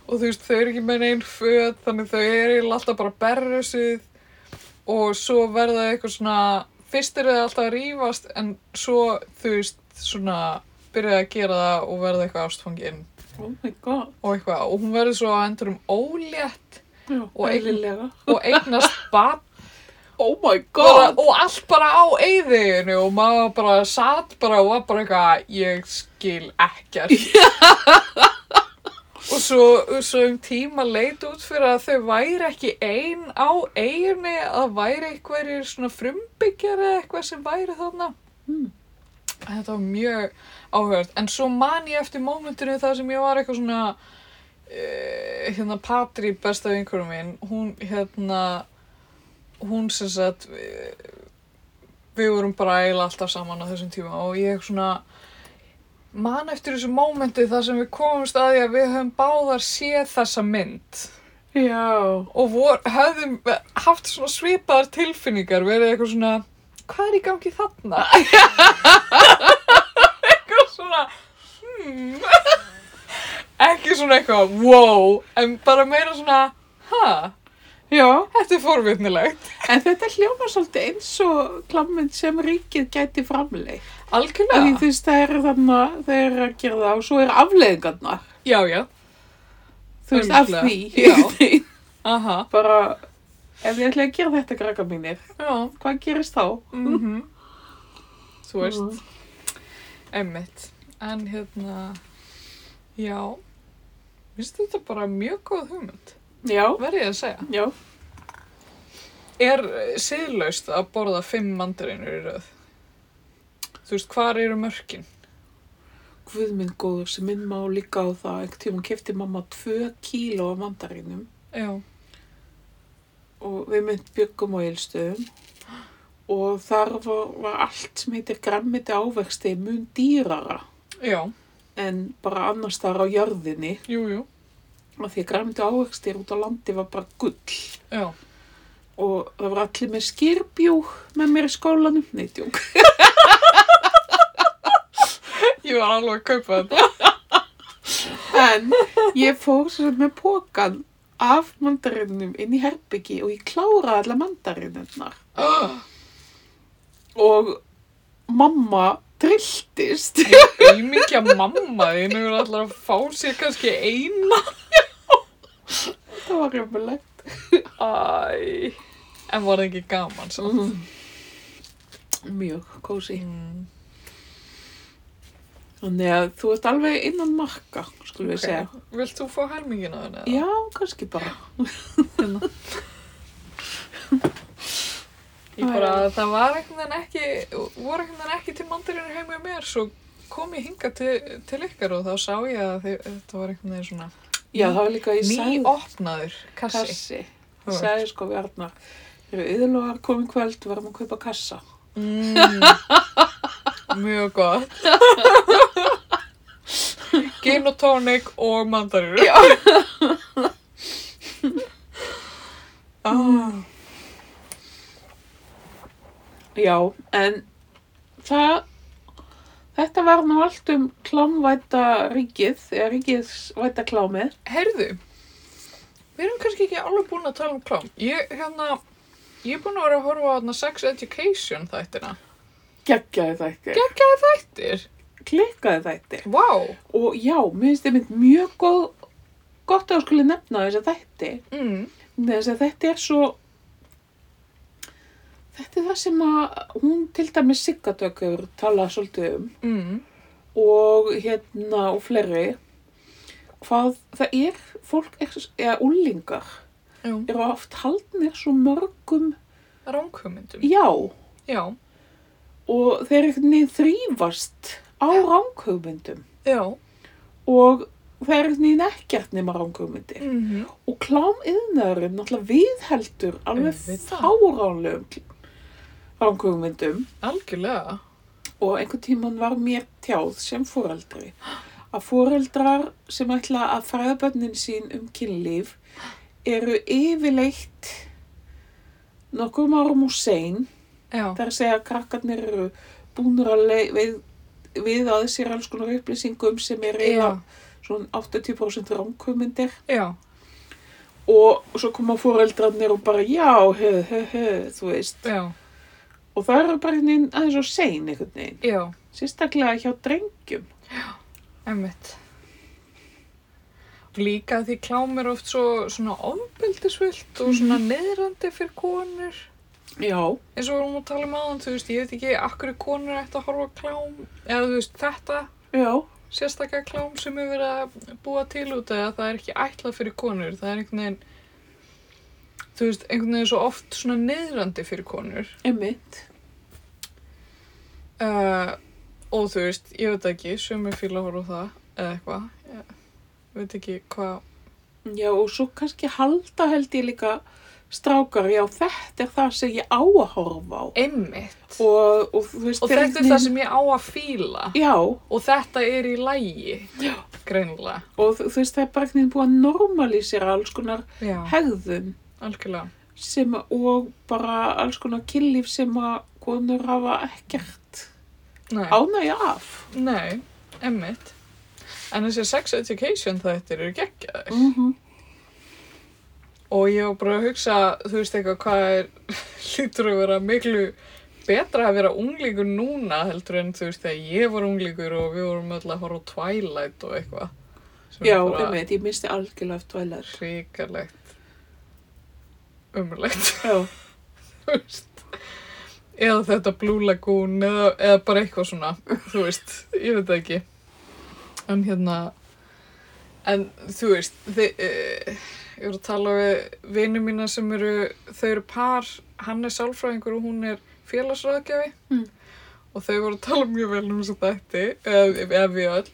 og þú veist þau eru ekki með neinn föt þannig þau eru eiginlega alltaf bara berrusuð og svo verða þau eitthvað svona fyrst eru þau alltaf að rífast en svo þú veist svona byrjaði að gera það og verða eitthvað ástfangin Oh my god. og eitthvað og hún verður svo að endur um ólétt Já, Og ein- eðlilega. og eignast bat Oh my bara, og allt bara á eyðinu og maður bara satt bara og var bara eitthvað ég skil ekkert og svo, svo um tíma leit út fyrir að þau væri ekki ein á eyðinu að væri einhverjir svona frumbyggjar eða eitthvað sem væri þarna Hmm. þetta var mjög áhört en svo man ég eftir mómentinu þar sem ég var eitthvað svona uh, hérna Patri besta vinkurum minn hún hérna hún sem sagt eh, við vorum bara eiginlega alltaf saman á þessum tíma og ég svona man eftir þessu mómenti þar sem við komumst að því að við höfum báðar séð þessa mynd Já, og vor, höfðum haft svona svipaðar tilfinningar verið eitthvað svona hvað er í gangi þarna? [LAUGHS] eitthvað svona hmm ekki svona eitthvað wow en bara meira svona ha, já. þetta er forvitnilegt En þetta hljóma svolítið eins og klammynd sem ríkið gæti framleið. Af Því Algjörlega? þú veist, það eru þarna, það eru að gera það og svo eru afleiðingarnar. Já, já. Þú veist, af Örugglega. því. Já. Aha. [LAUGHS] bara ef þið ætlaði að gera þetta krakka mínir, Já. hvað gerist þá? Mm Þú Mhm. veist, emmitt. En hérna, já, finnst þetta bara mjög góð hugmynd, Já, verð ég að segja. já. Er eh, siðlaust að borða fimm mandarinur í röð? Þú veist, hvar eru mörkin? Guð minn góður sem minn má líka á það einhvern tíma kefti mamma 2 kíló af mandarínum Já. og við mynd byggum á eilstöðum og þar var, var allt sem heitir græmmiti ávexti mun dýrara Já, en bara annars þar á jörðinni jú, jú. af því að græmmiti ávextir út á landi var bara gull Já. og það var allir með skýrbjú með mér í skólanum, neitjúk Ég var alveg að kaupa [GASPS] þetta. en ég fór sem sagt með pókan af mandarinunum inn í herbyggi og ég kláraði alla mandarinunnar og mamma trilltist Í mikið að mamma þín er alltaf að fá sér kannski eina. það var römmulegt Æ. En var það ekki gaman svo? mjög kósi Mm. þannig að þú ert alveg innan marka skulum við segja Vilt þú fá helmingin á henni? já, kannski bara Ég bara, það var einhvern veginn ekki, voru einhvern veginn ekki til mandarinu heim með mér, svo kom ég hinga til, til ykkar og þá sá ég að þið, þetta var einhvern veginn svona já, það var líka ég sagði nýopnaður kassi. kassi Þú veist. sagði sko við Arnar eru yðurlóðar komið kvöld, við varum að kaupa kassa Mm, mjög gott. Gin og tónik og mandarinu. Já. Ah, já, en það þetta var nú allt um klámvæta ríkið eða ríkisvæta klámið heyrðu, við erum kannski ekki alveg búin að tala um klám. Ég, hérna, ég er búin að vera að horfa á þarna sex education þættina. geggjaði þætti geggjaði þættir. klikkaði þætti Vá. Wow. Og já, mér finnst einmitt mjög góð, gott að þú skulle nefna þess að þætti. Mm. Þess að þetta er svo, þetta er það sem að hún til dæmis Siggadök hefur talað svolítið um Mm. og hérna og fleiri. Hvað það er, fólk er, eða úlingar Já. eru oft haldnir svo mörgum Ránkumyndum. já Já. og þeir einhvern veginn þrýfast á ránkaugmyndum Já. og það er einhvern veginn ekkert nema ránkaugmyndir. Mm -hmm. Og klámiðnaðurinn náttúrulega viðheldur alveg Auðvitað. fáránlegum ránkugmyndum Algjörlega. og einhvern tímann var mér tjáð sem foreldri að foreldrar sem ætla að fræða börnin sín um kynlíf eru yfirleitt nokkrum árum úr sein Já. þar að segja að krakkarnir eru búnur að lei- við, við að sér alls konar upplýsingum sem er Já. eiginlega svona 80% ránkugmyndir Já. og svo koma fóreldrarnir og bara já, hö, hö, hö, þú veist Já. og það eru bara einhvern veginn aðeins og sein einhvern veginn, Já. sérstaklega hjá drengjum Emmitt. Líka því klám er oft svo svona ofbeldisvilt og svona neðrandi fyrir konur. já, Eins og við erum að tala um aðan, þú veist, ég veit ekki akkur er konur ætti að horfa á klám. Eða þú veist, þetta já, sérstaklega klám sem er verið að búa til út af að það er ekki ætlað fyrir konur það er einhvern veginn þú veist, einhvern veginn svo oft svona niðrandi fyrir konur einmitt uh, og þú veist, ég veit ekki sömu fíla horf á það eða eitthvað ég veit ekki hvað já og svo kannski halda held ég líka strákar, já þetta er það sem ég á að horfa á einmitt og, og, og þú veist þeir þetta er einhvern það sem ég á að fíla veginn- já, og þetta er í lægi greinilega og þú þú veist það er bara einhvern veginn búið að normalísera alls konar Já, hegðun algjörlega sem að- og bara alls konar kynlíf sem að konur hafa ekkert Nei. ánægja af Nei, emmitt En þessi sex education þættir eru geggjaðir mm -hmm. Og ég var bara að hugsa, þú veist eitthvað, hvað er, [LAUGHS] lítur að vera miklu betra að vera unglingur núna heldur en þú veist þegar ég var unglingur og við vorum öll að horfa á Twilight og eitthvað. sem er Já, bara einmitt, ég misti algjörlega eftir vælar. Hrikalegt. ömurlegt, já, [LAUGHS] þú veist. Eða þetta Blue Lagoon eða, eða bara eitthvað svona, þú veist, ég veit það ekki. En hérna, en þú veist, þi, uh, ég voru að tala við vinnu mína sem eru, þau eru par, hann er sálfræðingur og hún er félagsráðgjafi. Mm. Og þau voru að tala mjög vel um þess að þetta, eða, eða við öll.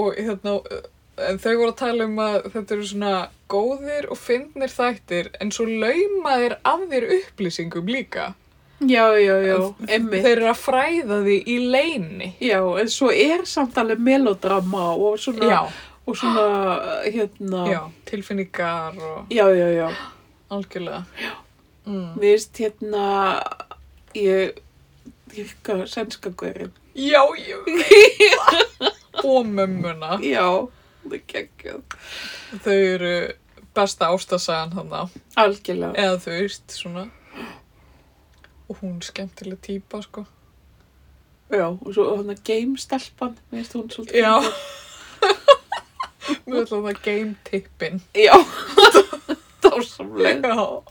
Og hérna, eh, en þau voru að tala um að þetta eru svona góðir og fyndnir þættir en svo laumaðir af þér upplýsingum líka. já, já, já, Þeir emmi. eru að fræða þig í leini. Já, en svo er samt alveg melodrama og svona, Já, og svona, hérna, já, tilfinningar og já, já, já. algjörlega. Já. Mm. Mér veist, hérna, ég, ég, hvað, sænska guðurinn. Já, já. og mömmuna. Já, það er geggjað. Þau eru besta ástasagan hann á. Algjörlega. Eða þú veist, svona. Og hún er skemmtileg típa, sko. Já, og svo hann að game-stelpan, mér veist hún svolítið. Já. Við ætlum um það game tippin. Já, [LAUGHS] dásamlega. Já,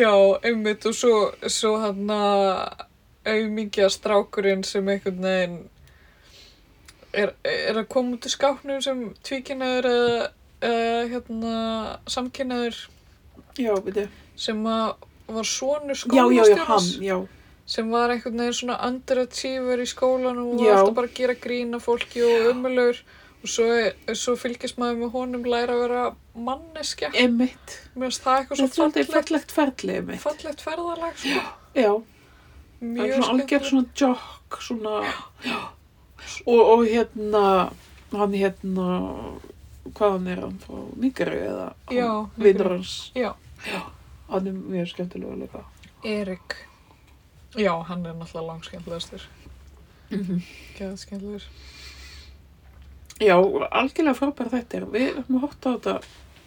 já, einmitt og svo, svo hann að auðmingja strákurinn sem einhvern veginn er, er að koma út í skáknum sem tvíkinaður eða, eða hérna, samkinaður Já, veitu. sem að var sonur Já, já, já, skólastjórans hann, já. sem var einhvern veginn svona underachiever í skólanum og var Já. alltaf bara að gera grína fólki og umulur og svo, er- svo fylgist maður með honum læra að vera manneskja Emmitt. mér finnst það eitthvað Svo svo svolítið fallegt fallegt ferli, emmitt. fallegt ferðalag sko. Já, það mjög er svona algjör skemmtilegt. svona jokk, svona, já. Og, og hérna, hann hérna, hvað hann er hann frá Niggeru eða Já, hann, Nígeríu. vinnur hans, já, hann er mjög skemmtilega líka. Erik já, hann er náttúrulega langskemmtilegastur Mm geðskemmtilegur Já, algjörlega frábær þetta er. Við höfum hótt á þetta,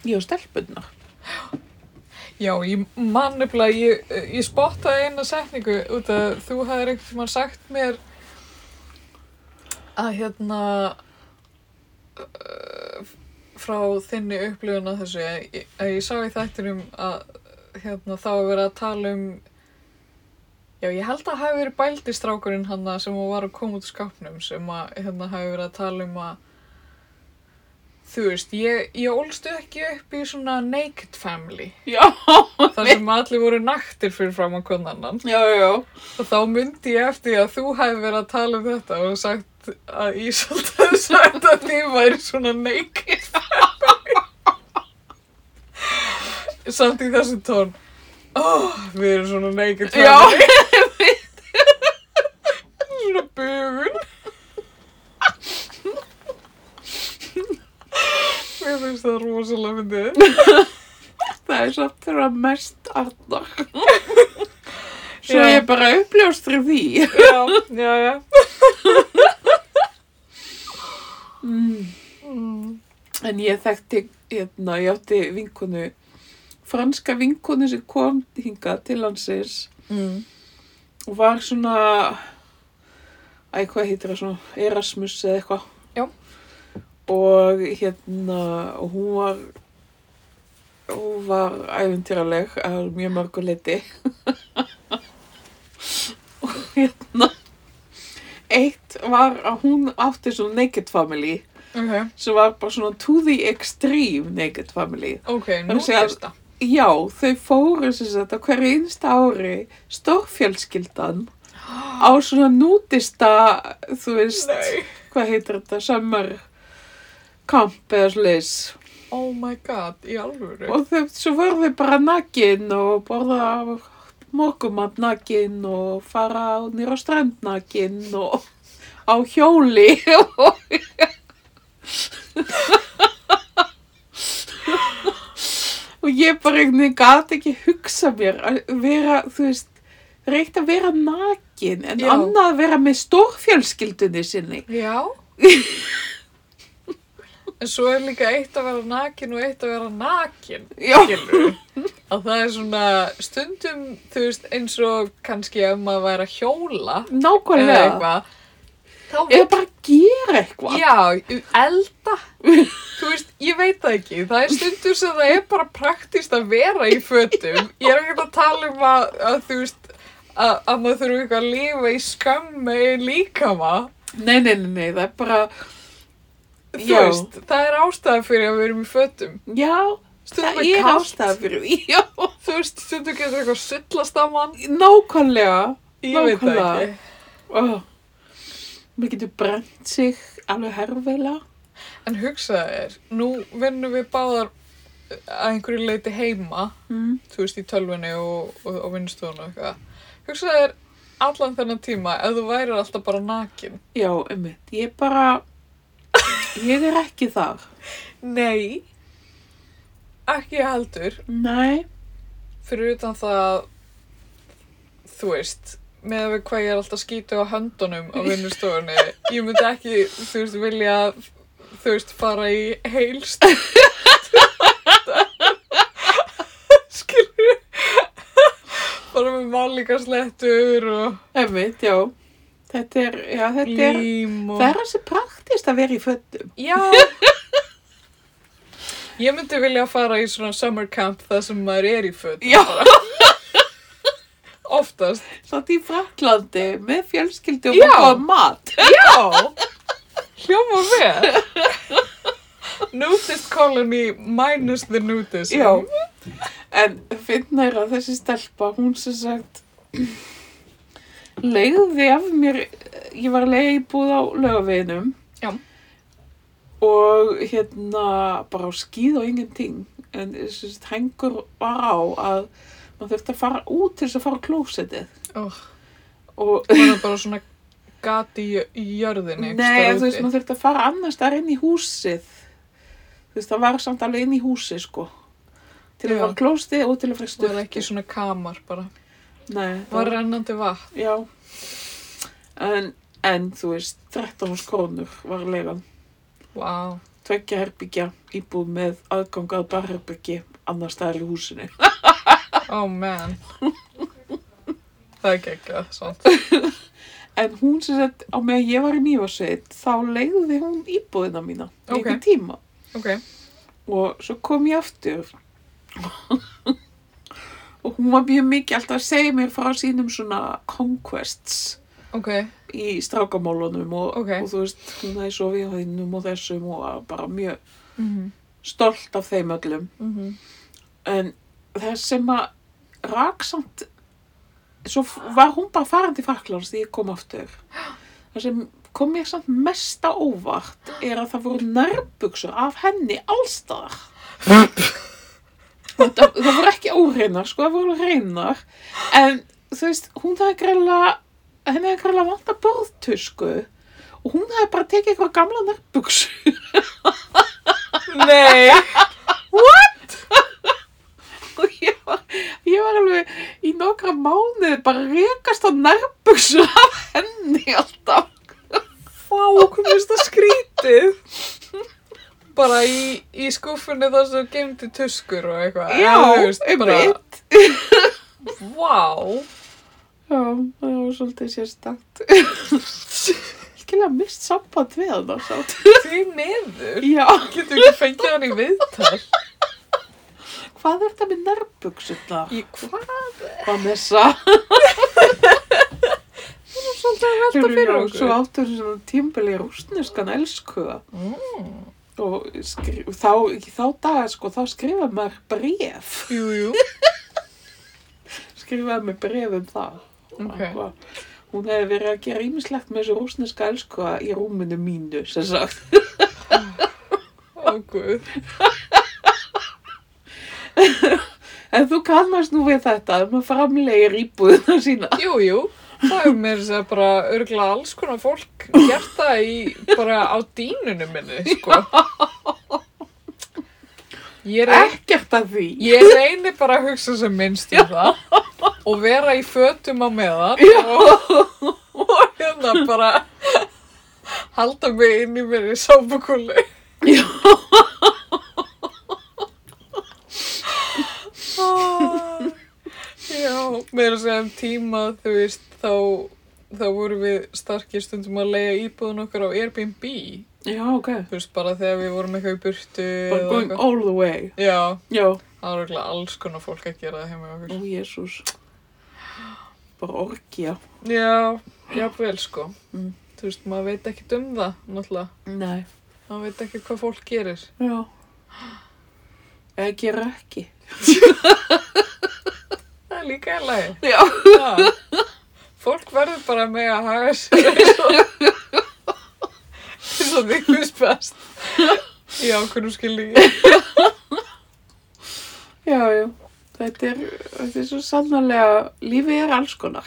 ég og stelpunnar. já, ég man nefnilega ég, ég spottaði eina setningu út að þú hafðir einhvern tímann sagt mér að hérna eh, frá þinni upplifun að þessu að ég, að ég sá í þættinum að hérna þá að vera að tala um já ég held að hafi verið bældistrákurinn hann sem hún var að koma út úr skápnum sem að hérna hafi verið að tala um að þú veist ég, ég ólstu ekki upp í svona naked family Já, þar sem allir voru naktir fyrir fram á hvern annan já, já. Og þá myndi ég eftir að þú hefði verið að tala um þetta og sagt að Ísald [LAUGHS] hefði sagt að þið væri svona naked family. Samt í þessum tón. Oh, við erum svona naked Já, family. Svona bugun. Mér finnst það rosalega myndið. [LAUGHS] það er samt þeirra mest arnar. [LAUGHS] Svo Já. ég bara uppljóstri því. [LAUGHS] Já, já, já. Mm. Mm. En ég þekkti, hérna, ég átti vinkonu, franska vinkonu sem kom hingað til hansins Mm. og var svona, æ, hvað heitir það svona, Erasmus eða eitthvað. Já. Og hérna, og hún var, hún var ævintýraleg að mjög mörgu liti. [LAUGHS] og hérna, eitt var að hún átti svona naked family Ok, sem var bara svona to the extreme naked family. ok, er nú að segja- gerst það. Já, þau fóru sem sagt á hverju einsta ári stórfjölskyldan á svona nútista, þú veist, Nei. hvað heitir þetta, summer camp eða slis. Oh my god, í alvöru. Og þau, svo voru þau bara nakin og borða morgumat nakin og fara nýra á strand nakin og á hjóli og og ég bara einhvern veginn gat ekki hugsa mér að vera, þú veist, það er eitt að vera nakin en Já. annað að vera með stórfjölskyldunni sinni. Já. en svo er líka eitt að vera nakin og eitt að vera nakin, Já, skilur. að það er svona stundum, þú veist, eins og kannski ef maður væri að hjóla eða nákvæmlega. eitthvað, þá eða bara gera eitthvað Já, elda Þú veist, ég veit það ekki Það er stundur sem það er bara praktist að vera í fötum Ég er ekkert að tala um að, að þú veist að, að maður þurfi eitthvað að lifa í skömm með eigin líkama nei, nei, nei, nei, það er bara Þú Já. veist, það er ástæða fyrir að við erum í fötum já, Stundum það er er kalt ástæða fyrir því, já, Þú veist, stundum getur eitthvað sullast á mann nákvæmlega Ég veit það Nákvæmlega. ekki oh. maður getur brent sig alveg herrveila En hugsaðu þér, nú vinnum við báðar að einhverju leiti heima, mm. þú veist, í tölvunni og, og, og vinnstofun og eitthvað. Hugsaðu þér allan þennan tíma ef þú værir alltaf bara nakin. já, einmitt, ég bara ég er ekki þar Nei. Ekki heldur, nei, fyrir utan það, þú veist, með að við hvað ég er alltaf skítið á höndunum á vinnustofunni, ég myndi ekki, þú veist, vilja, þú veist, fara í heilst. Skilur Bara með málíka slettur og einmitt, já þetta er, já, þetta er lím og... það er hansi praktist að vera í fötum Já. Ég myndi vilja fara í svona summer camp þar sem maður er í föt. já, Oftast. satt í Fraklandi með fjölskyldu og Já. bara fá mat Já. Hljóma vel. Nudist colony minus the nudism. Já, en finna er að þessi stelpa, hún sem sagt leiði af mér, ég var leiði búð á lögaveginum Já. og hérna bara á skýð og ingenting en sem sagt hengur var á að maður þurfti að fara út til þess að fara á klósetið Oh, og var það bara svona gat í jö- í jörðinni. einhvers Nei, staðar þú veist, úti? maður þurfti að fara annars þar inn í húsið. Þú veist, það var samt alveg inn í húsið, sko. Til Já. að fara klósti og til að fara Var stöftu. það ekki svona kamar bara. Nei, það Var rennandi vatn. já. En, en, þú veist, 13 hús krónur var leigan. Vá. Wow. Tveggja herbyggja íbúð með aðgang að barherbyggi annars staðar í húsinu. Oh man. það er geggjað, svont. En hún sem sagt, á meðan ég var í Mývarsveit, þá leiði hún íbúðina mína. í Ok. einhvern tíma. Ok. og svo kom ég aftur og hún var mjög mikið alltaf að segja mér frá sínum svona conquests Ok. í strákamálunum og, Ok. og þú veist, hún hefði svo við hinnum og þessum og var bara mjög Mhm. stolt af þeim öllum Mhm. en það sem að raksamt svo f- var hún bara farin til Fraklands því ég kom aftur það sem kom mér samt mest á óvart er að það voru nærbuksur af henni allstaðar það, það voru ekki óreinar sko, það voru reinar en þú veist, hún það er greinlega henni er greinlega vant að borðtusku og hún hefði bara tekið eitthvað gamla nærbuksur Nei. og ég var, ég var alveg í nokkra mánuði bara rekast á nærbuksur af henni alltaf. Vá, hvað finnst það skrítið? Bara í, í skúfunni þar sem gemdi tuskur og eitthvað. Já, um Eða, þú veist, bara, einmitt. Vá. Já, það var svolítið [LAUGHS] sérstakt. Skilja mist samband við hann og sátt. Því miður. Já, Getur ekki fengið hann í viðtal. hvað er þetta með nærbuksutnar? Í hvað? Vanessa. Svolítið að velta fyrir Já, Svo okkur. áttu þessu svona tímbili rúsneskan elskuða. Mm. Og skri, þá, í þá daga sko, þá skrifa maður bref. Jú, jú. Skrifaði mig bref um það. Ok. Eitthvað. Hún hefði verið að gera ímislegt með þessu rúsneska elskua í rúminu mínu, sem sagt. Ó, guð. En þú kannast nú við þetta, að maður framlegir íbúðina sína. Jú, jú. Það er mér sem bara örgla alls konar fólk gert það í, bara á dýnunum minni, sko. Ég er Ekkert að því. Ég reyni bara að hugsa sem minnst um það og vera í fötum á meðan og, og hérna bara halda mig inn í mér í sápukúli. Já. um Ah, Já, meira sem tíma þú veist þá þá vorum við starkir stundum að leiða íbúðun okkar á Airbnb þú Já, ok. veist bara þegar við vorum eitthvað í burtu Bara eða going eitthvað. all the way. já, Já. það var eiginlega alls konar fólk að gera það heima hjá Ó, okkur Jésús. Bara orkja. já, jafnvel sko Mm. þú veist, maður veit ekkert um það náttúrulega, Nei. maður veit ekki hvað fólk gerir Já. Eða gera ekki. það er líka í lagi Já. Já. Fólk verður bara með að haga sér [LAUGHS] eins og eins og því hvers best. Já, hvernig skilji. Já, já. Þetta er, þetta er svo sannarlega, lífið er alls konar.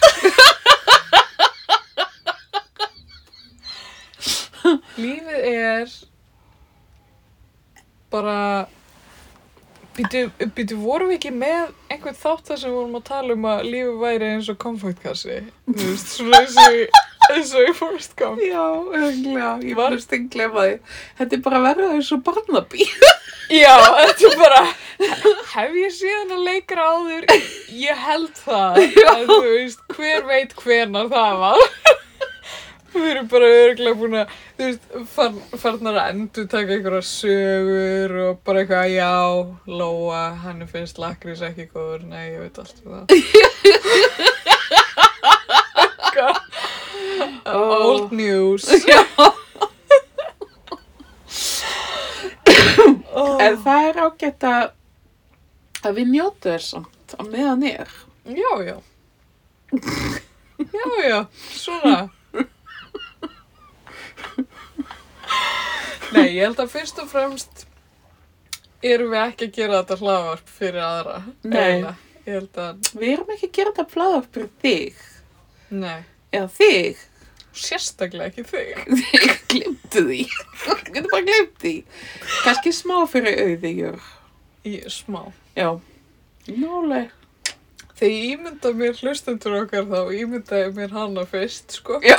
Lífið er bara, býtu, býtu, vorum við ekki með einhvern þátt þar sem við vorum að tala um að lífið væri eins og komfortkassi? Þú veist, svona eins og, í- eins og í Forrest Gump. Já, örgulega. Ég Var- var stund glemma því. Þetta er bara að verða eins og barnabí. Já, þetta er bara, hef ég síðan að leikra áður? Ég held það, [LAUGHS] en þú veist, hver veit hvenar það var. [LAUGHS] Við erum bara örglega búin að, þú veist, farn, farnar að endur taka einhverja sögur og bara eitthvað, já, Lóa, hann finnst lakrís ekki góður, nei, ég veit allt um það. Old news. [LAUGHS] Já. En það er ágætt að, að við njótu þér samt á meðan er. Já, já. Já, já, svona. Nei, ég held að fyrst og fremst erum við ekki að gera þetta hlaðvarp fyrir aðra. Nei. eiginlega. Ég held að, Við erum ekki að gera þetta flæða fyrir þig. nei, Eða þig. [LAUGHS] sérstaklega ekki þig. Þig glimtu því. Þú getur bara glimt því. Kanski smá fyrir auðigjur. Ég er smá. Já. Nálega. Þegar ég ímynda mér hlustendur okkar þá ímynda ég mér hana fyrst, sko. Já.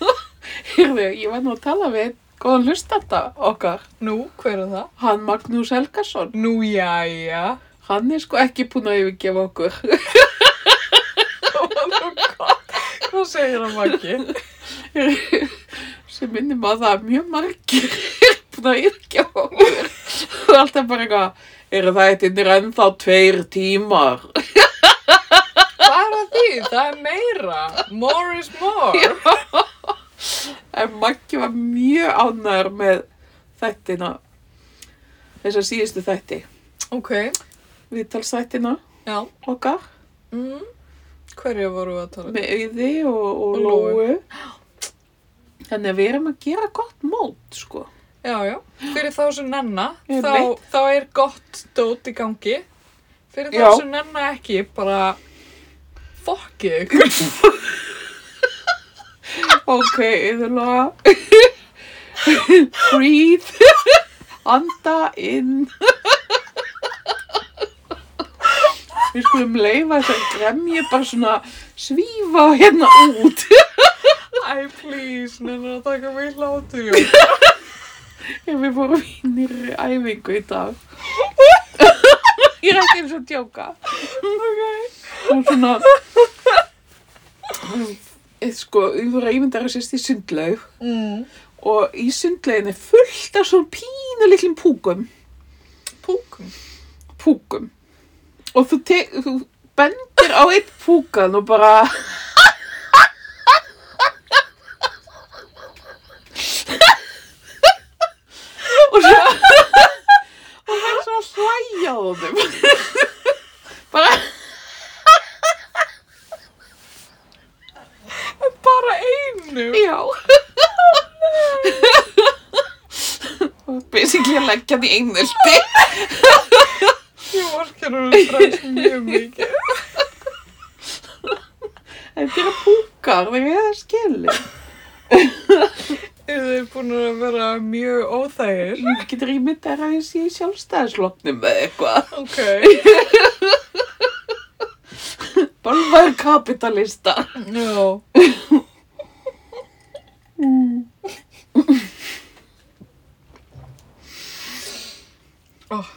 [LAUGHS] Hérðu, ég var nú að tala við einn góðan hlustanda okkar. Nú, hver er það? Hann Magnús Helgason. Nú, jæja. Hann er sko ekki búinn að yfirgefa okkur. Það var nú gott. Hvað segir hann Maggi? sem minnum að það er mjög margir [LAUGHS] er búin að yfirgefa okkur og alltaf bara eitthvað eru það eitt innir ennþá tveir tímar Hvað er að því? Það er meira. More is more. en Maggi var mjög ánæður með þættina þess að síðustu þætti Ok. viðtalsþættina Já. okkar Mm. Hverja voru að tala? um? með auði og, og Og Lóu. lóu þannig að við erum að gera gott mót sko Já, já. Fyrir þá sem nenna, Ég þá, veit. þá er gott dót í gangi. Fyrir Já. þá sem nenna ekki, bara fokkið ykkur. ok, auðvitað [LAUGHS] breathe anda inn við skulum leifa þess að gremja bara svona svífa hérna út [LAUGHS] Æ, please, nenna að taka mig hlátur, jú. ef við fórum í nýri æfingu í dag ég er ekki eins og tjóka Ok. og svona Eh, sko, ég voru að ímynda að sérst í sundlaug Mm. og í sundlauginni er fullt af svona pínu litlum púkum Púkum. púkum og þú, te- þú bendir á eitt púkan og bara og svo og það er svo að hlæja á þeim bara Bara einu. já og basically að leggja því einöldi Ég vorkar hún strax mjög mikið. þetta eru púkar þegar ég það skilur Eru þið búin að vera mjög óþægir? Ég getur ímyndað að ég sé í sjálfstæðisloknum eða eitthvað. [LAUGHS] Ok. Bölvaður kapitalista. Já. Ó, þú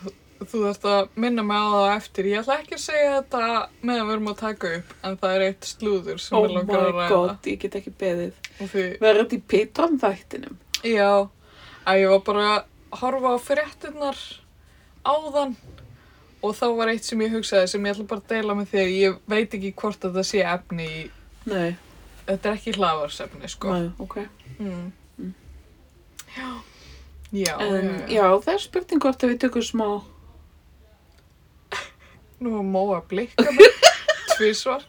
þú þarft að minna mig á það á eftir. Ég ætla ekki að segja þetta meðan við erum að taka upp, en það er eitt slúður sem Oh við my langar að ræða. god, ég get ekki beðið. Og því, Verður þetta í Patreon þættinum? já, að ég var bara að horfa á fréttinnar áðan og þá var eitt sem ég hugsaði sem ég ætla bara að deila með þér. Ég veit ekki hvort að það sé efni í, Nei, þetta er ekki hlaðvarsefni, sko. nei, ok. Mm. Mm. Já. Já, já, En, já. já, það er spurning hvort að við tökum smá Nú er móa blikka [LAUGHS] mig, tvísvar.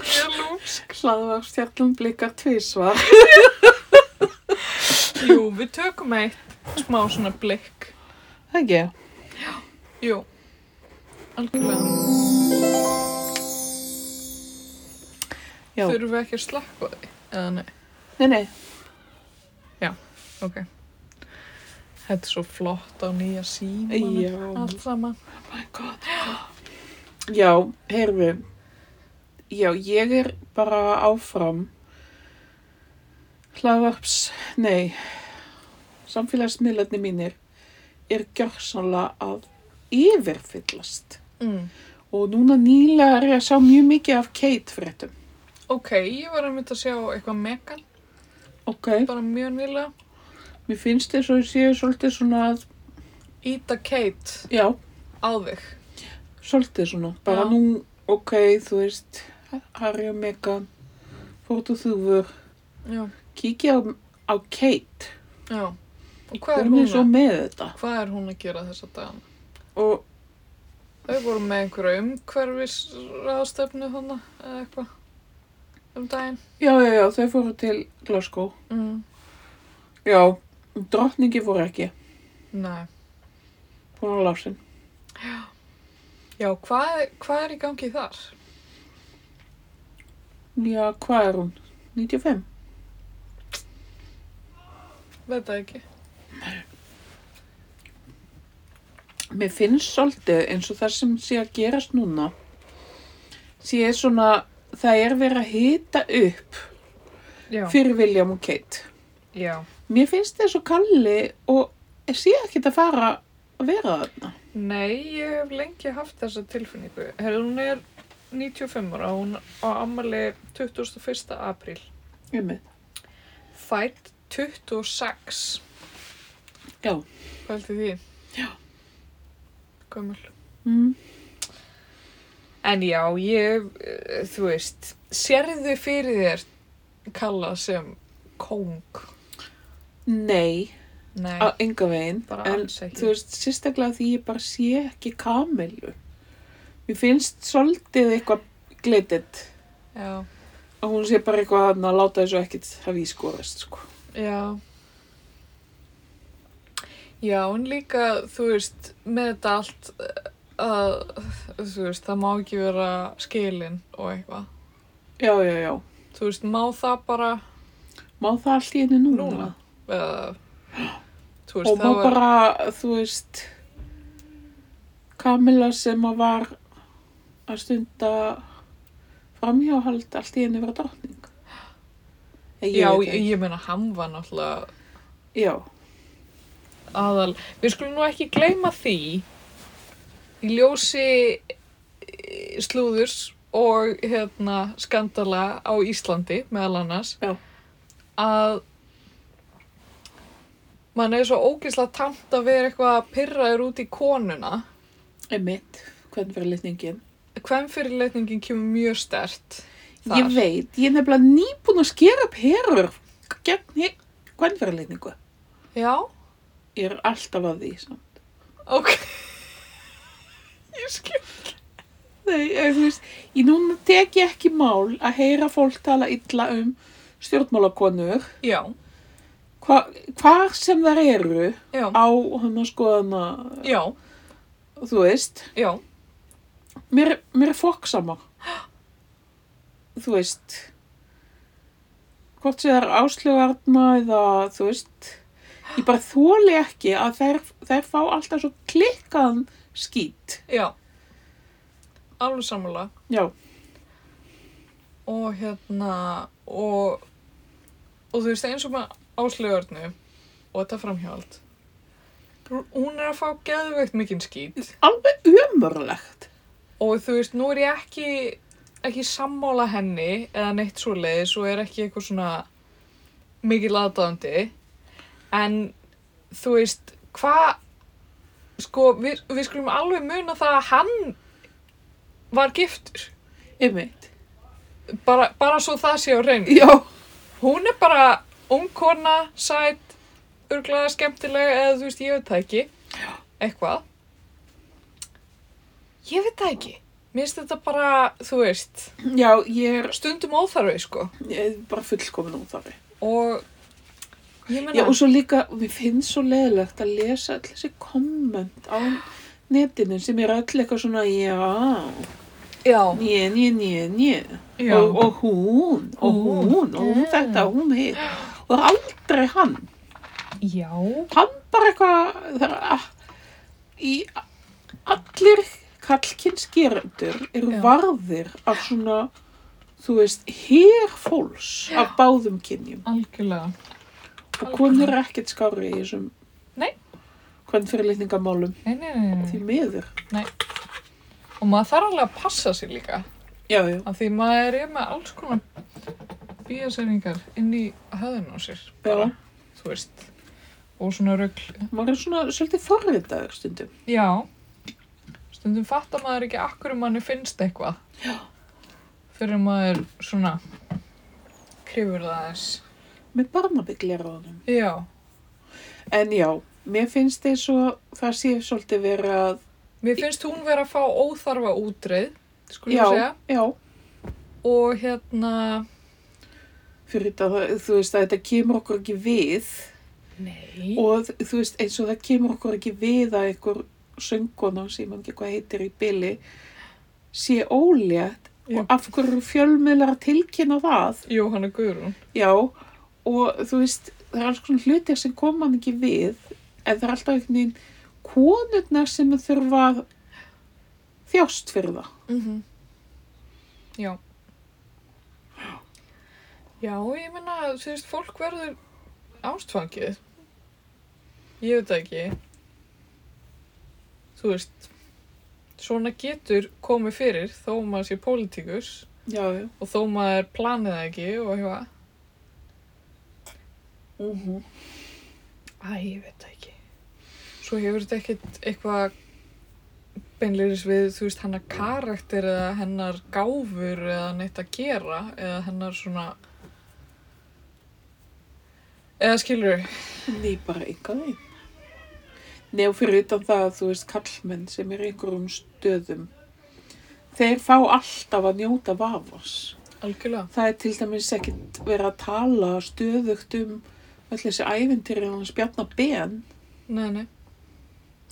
Ég er lúms. hlaðvarstjarlum blikar tvísvar. Jú, við tökum eitt smá svona blikk. Það ekki? Jú, algjörlega. Já. Þurfum við ekki að slakka á því? Eða nei, Nei, nei. ok. Þetta er svo flott á nýja símanum. Já. Allt saman. Oh my god. Já, heyrðu. Já, ég er bara áfram hlaðvarps, nei, samfélagsmiðlarnir mínir er gjörsanlega að yfirfyllast. Mm. Og, Og núna nýlega er ég að sjá mjög mikið af Kate fréttum. ok, ég var að mynda að sjá eitthvað megan, Ok. bara mjög nýlega. Mér finnst þess að ég séu svolítið svona að, Íta Kate já, á þig. svolítið svona. Bara Já. nú, ok, þú veist, Harry og Megan, fórt og þúfur, Já, kíkja á, á Kate. já. Og hvað er Hún hún er svo að, með þetta. hvað er hún að gera þessa dagana? Og Þau voru með einhverja umhverfisraðstöfnu þannig, eða eitthvað, um daginn. já, já, já, þau fóru til Glasgow. Mm. Já, drottningi fóru ekki. Nei. Hún var lásin. Já, hvað, hvað er í gangi þar? Já, hvað er hún? 95? Veit það ekki. Mér finnst svolítið eins og það sem sé að gerast núna. Sé svona, það er verið að hita upp Já. fyrir William og Kate. Já. Mér finnst þess og Kalli og sé ekkert að fara að vera þarna. Nei, ég hef lengi haft þessa tilfinningu. Herðu, hún er 95 ára, hún á ammali 21. apríl. Ég með. Fætt 26. Já. Pælti því. Já. Gömul. Mm. En já, ég, eh, þú veist, sérðu fyrir þér kalla sem kóng? Nei, Nei, á enga veginn. bara Ah, en alls ekki. þú veist, sérstaklega því ég bara sé ekki kamilu. Mér finnst svolítið eitthvað glitið Já, og hún sé bara eitthvað þarna að láta þessu ekkit hafi í skorist, sko. já. Já, en líka, þú veist, með þetta allt, eh, að, þú veist, það má ekki vera skilin og eitthvað. Já, já, já. Þú veist, má það bara, Má það allt í henni núna? Núna, eða, þú veist, og má það var, bara, þú veist, Kamila sem að var að stunda framhjáhald allt í henni vera drottning. Eh, Ég já, veit ég, það ekki. ég meina, hann var náttúrulega já, aðal, við skulum nú ekki gleyma því í ljósi eh, slúðurs og hérna skandala á Íslandi meðal annars Já. að mann er svo ógislega tamt að vera eitthvað að pyrra þér út í konuna einmitt, hvernig verið litningin? hvem fyrirleitningin kemur mjög stert þar Ég veit, ég er nefnilega nýbúin að skera upp herur gegn hvernig verið litningu. já, Ég er alltaf að því, samt. ok [LAUGHS] ég skil Nei, eh, þú veist, ég núna tek ég ekki mál að heyra fólk tala illa um stjórnmálakonur, já, hva, hvar sem þær eru já, á hann að skoðana, já, þú veist, já, mér, mér er fokksama. Þú veist, hvort sem það er áslögarna eða, þú veist, ég bara þóli ekki að þær, þær fá alltaf svo klikkaðan skít. já alveg sammála Já, og hérna og, og þú veist eins og með áslögarnu og þetta framhjáld hún er að fá geðveikt mikinn skít Alveg umörlegt. og þú veist, nú er ég ekki ekki sammála henni eða neitt svoleiðis og er ekki eitthvað svona mikið laðdáðandi en þú veist, hvað sko, við, við skulum alveg muna það að hann var giftur Einmitt. bara, bara svo það sé á reynu Já. hún er bara ung kona, sætt örglega skemmtilega eða þú veist, ég veit það ekki eitthvað ég veit það ekki mér finnst þetta bara, þú veist Já, ég er, stundum óþarfi, sko ég er bara fullkomin út af því. og ég Já, meina, og svo líka, og mér finnst svo leðilegt að lesa allir þessi komment á netinu sem er öll eitthvað svona, já, já, njö, njö, njö, njö. já, Og, og hún, og Hún. hún, og hún Mm. þetta, og hún hitt. Og það er aldrei hann. já Hann bara eitthvað, það er að, í allir kallkins gerendur eru Já. varðir af svona, þú veist, hér fólks af báðum kynjum. algjörlega Og konur er ekkert skári í þessum Nei. hvern fyrirlitningamálum nei, nei, nei, nei. því miður. og maður þarf alveg að passa sér líka Já, já. af því maður er með alls konar bíasæringar inn í höðun á sér Já, þú veist og svona rögl maður er svona svolítið forritaður stundum. já stundum fattar maður ekki akkur um manni finnst eitthvað fyrir maður svona krifur það aðeins Með barnabyggleiraðunum. já, En já, mér finnst eins og það sé svolítið verið að... mér finnst hún vera að fá óþarfa útreið skulum Já, við segja já. og hérna Fyrir þetta, þú veist, að þetta kemur okkur ekki við nei og þú veist, eins og það kemur okkur ekki við að einhver söngona sem mann ekki hvað heitir í byli sé ólétt Já. og af hverju eru fjölmiðlar að tilkynna það. Jóhanna Guðrún Já, og þú veist, það er alls konar hlutir sem koma hann ekki við en það er alltaf einhvern veginn konurnar sem þurfa að þjást fyrir það. mm já já, ég meina þú veist, fólk verður ástfangið ég veit það ekki þú veist svona getur komið fyrir þó maður sé pólitíkus Já, já. og þó maður planið það ekki og eitthvað Mm -hmm. Æ, ég veit það ekki. Svo hefur þetta ekkert eitthvað beinleiris við, þú veist, hennar karakter eða hennar gáfur eða neitt að gera eða hennar svona... Eða skilur, Nei, bara eitthvað einn. Nei, og fyrir utan það að þú veist kallmenn sem er í einhverjum stöðum, þeir fá alltaf að njóta vafas. algjörlega. Það er til dæmis ekkert verið að tala stöðugt um öll þessi ævintýri hans Bjarna Ben Nei, nei.